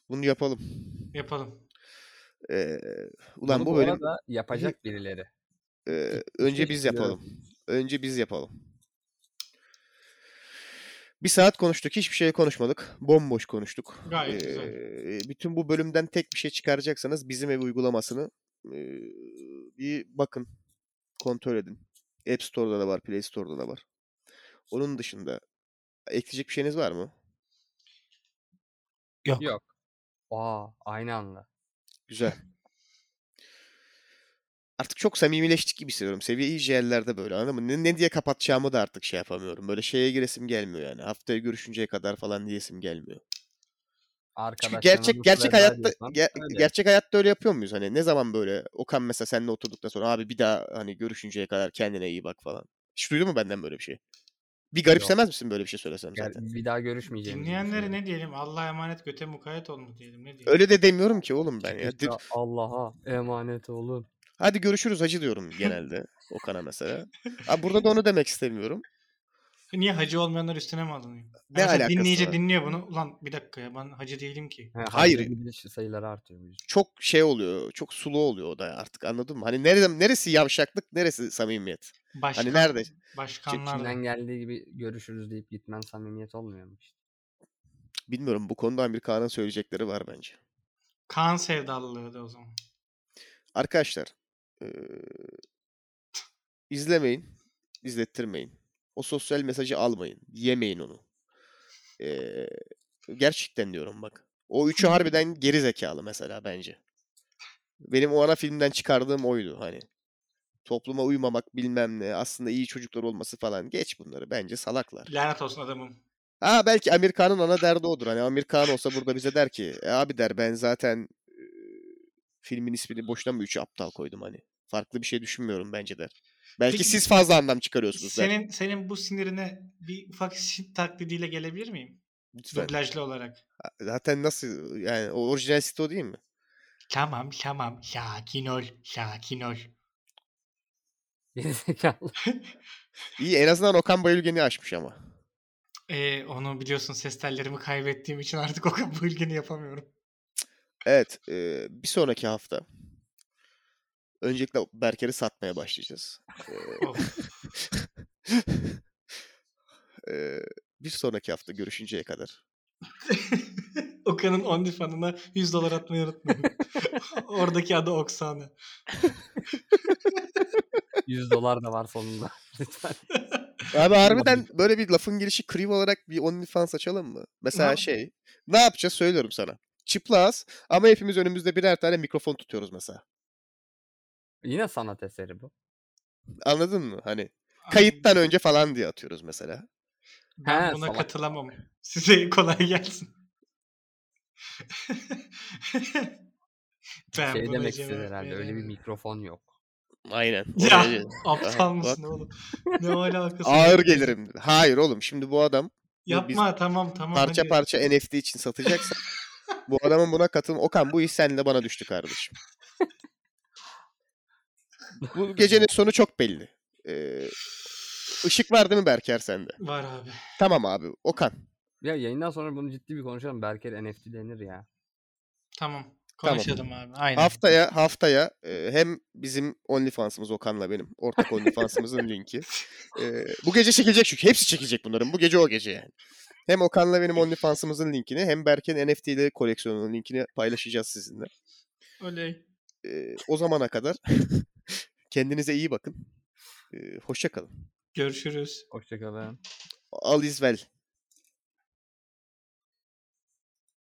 Bunu yapalım.
Yapalım.
Ee, ulan
Bunu
bu bölüm
arada yapacak birileri.
e, önce biz
istiyorum.
yapalım. Önce biz yapalım. Bir saat konuştuk. Hiçbir şey konuşmadık. Bomboş konuştuk.
Gayet güzel.
Ee, Bütün bu bölümden tek bir şey çıkaracaksanız bizim ev uygulamasını e, bir bakın. Kontrol edin. App Store'da da var. Play Store'da da var. Onun dışında ekleyecek bir şeyiniz var mı?
Yok. Aa aynı anda.
Güzel. Artık çok samimileştik gibi hissediyorum. Seviye iyice yerlerde böyle anladın mı? Ne, ne diye kapatacağımı da artık şey yapamıyorum. Böyle şeye giresim gelmiyor yani. Haftaya görüşünceye kadar falan diyesim gelmiyor. Çünkü
Arkadaşlarına
gerçek
nasıl
gerçek
veda
hayatta
ediyorsan
ger-
öyle.
E, gerçek hayatta öyle yapıyor muyuz? Hani ne zaman böyle Okan mesela seninle oturduktan sonra abi bir daha hani görüşünceye kadar kendine iyi bak falan. Hiç duydun mu benden böyle bir şey? Bir garipsemez misin böyle bir şey söylesem
Gel-
zaten?
bir daha görüşmeyeceğim.
Dinleyenlere ne diyelim? Allah'a emanet göte mukayyet olun diyelim. Ne diyelim?
Öyle de demiyorum ki oğlum ben ya. Di-
Allah'a emanet olun.
Hadi görüşürüz hacı diyorum genelde Okan'a mesela. Abi burada da onu demek istemiyorum.
Niye hacı olmayanlar üstüne mi alınıyor? Ya
Ne
mesela
alakası
Dinleyici
var?
dinliyor bunu. Ulan bir dakika ya ben hacı değilim ki.
He,
Hayır.
hacca gidiş sayıları artıyor. bu yüzden.
çok şey oluyor. Çok sulu oluyor o da artık anladın mı? Hani nerede, neresi yavşaklık, neresi samimiyet?
Başkan,
Hani nerede?
Başkanlar.
Kimden geldiği gibi görüşürüz deyip gitmen samimiyet olmuyor mu işte?
Bilmiyorum bu konuda Amir Kağan'ın söyleyecekleri var bence.
Kaan sevdalılığı da o zaman.
Arkadaşlar eee, izlemeyin, izlettirmeyin. O sosyal mesajı almayın. Yemeyin onu. Eee, gerçekten diyorum bak. O üçü harbiden geri zekalı mesela bence. Benim o ana filmden çıkardığım oydu hani. Topluma uymamak bilmem ne aslında iyi çocuklar olması falan geç bunları bence salaklar.
Lanet olsun adamım.
Ha belki Amerikan'ın ana derdi odur. Hani Amerikan olsa burada bize der ki "E abi der ben zaten e, filmin ismini boşuna mı üç aptal koydum hani. Farklı bir şey düşünmüyorum bence der. Belki
Peki- şey
siz fazla anlam çıkarıyorsunuz der.
Senin senin bu sinirine bir ufak sin taklidiyle gelebilir miyim?
Lütfen.
Dublajlı olarak.
Zaten nasıl yani o orijinal site o değil mi?
Tamam tamam sakin ol sakin ol.
Gerizekalı.
İyi en azından Okan Bayülgen'i açmış ama.
Ee, onu biliyorsun ses tellerimi kaybettiğim için artık o bu ilgini yapamıyorum.
Evet e, bir sonraki hafta öncelikle Berker'i satmaya başlayacağız. E,
Of.
e, bir sonraki hafta görüşünceye kadar.
Okan'ın OnlyFans'ına 100 dolar atmayı unutmayın. Oradaki adı Oksana.
100 dolar da var sonunda. Lütfen.
Abi harbiden böyle bir lafın gelişi kriv olarak bir OnlyFans açalım mı? Mesela
yap-
şey. Ne yapacağız söylüyorum sana. Çıplaz ama hepimiz önümüzde birer tane mikrofon tutuyoruz mesela.
Yine sanat eseri bu.
Anladın mı? Hani kayıttan önce falan diye atıyoruz mesela.
Ben
He,
buna
salak.
katılamam. Size kolay gelsin. ben
şey
buna
demek
cevap
istedi herhalde. Öyle bir
veremem.
mikrofon yok.
Aynen.
Ya
Öyle-
aptal
Bak.
mısın oğlım? Ne alakası var?
Ağır gelirim. Hayır oğlum şimdi bu adam
Yapma tamam tamam.
parça
hadi.
parça NFT için satacaksa bu adamın buna katılım. Okan bu iş seninle bana düştü kardeşim. bu gecenin sonu çok belli. Ee, ışık var değil mi Berker sende?
Var abi.
Tamam abi. Okan.
Ya yayından sonra bunu ciddi bir konuşalım. Berker NFT denir ya.
Tamam.
Tamam.
Konuşalım abi. Aynen.
Haftaya haftaya e, hem bizim OnlyFans'ımız Okan'la benim ortak OnlyFans'ımızın linki. E, bu gece çekilecek çünkü hepsi çekilecek bunların. Bu gece o gece yani. Hem Okan'la benim OnlyFans'ımızın linkini hem Berk'in NFT'li koleksiyonunun linkini paylaşacağız sizinle.
Oley.
Ee, o zamana kadar kendinize iyi bakın. Ee, hoşça kalın.
Görüşürüz.
Hoşçakalın.
Al izvel.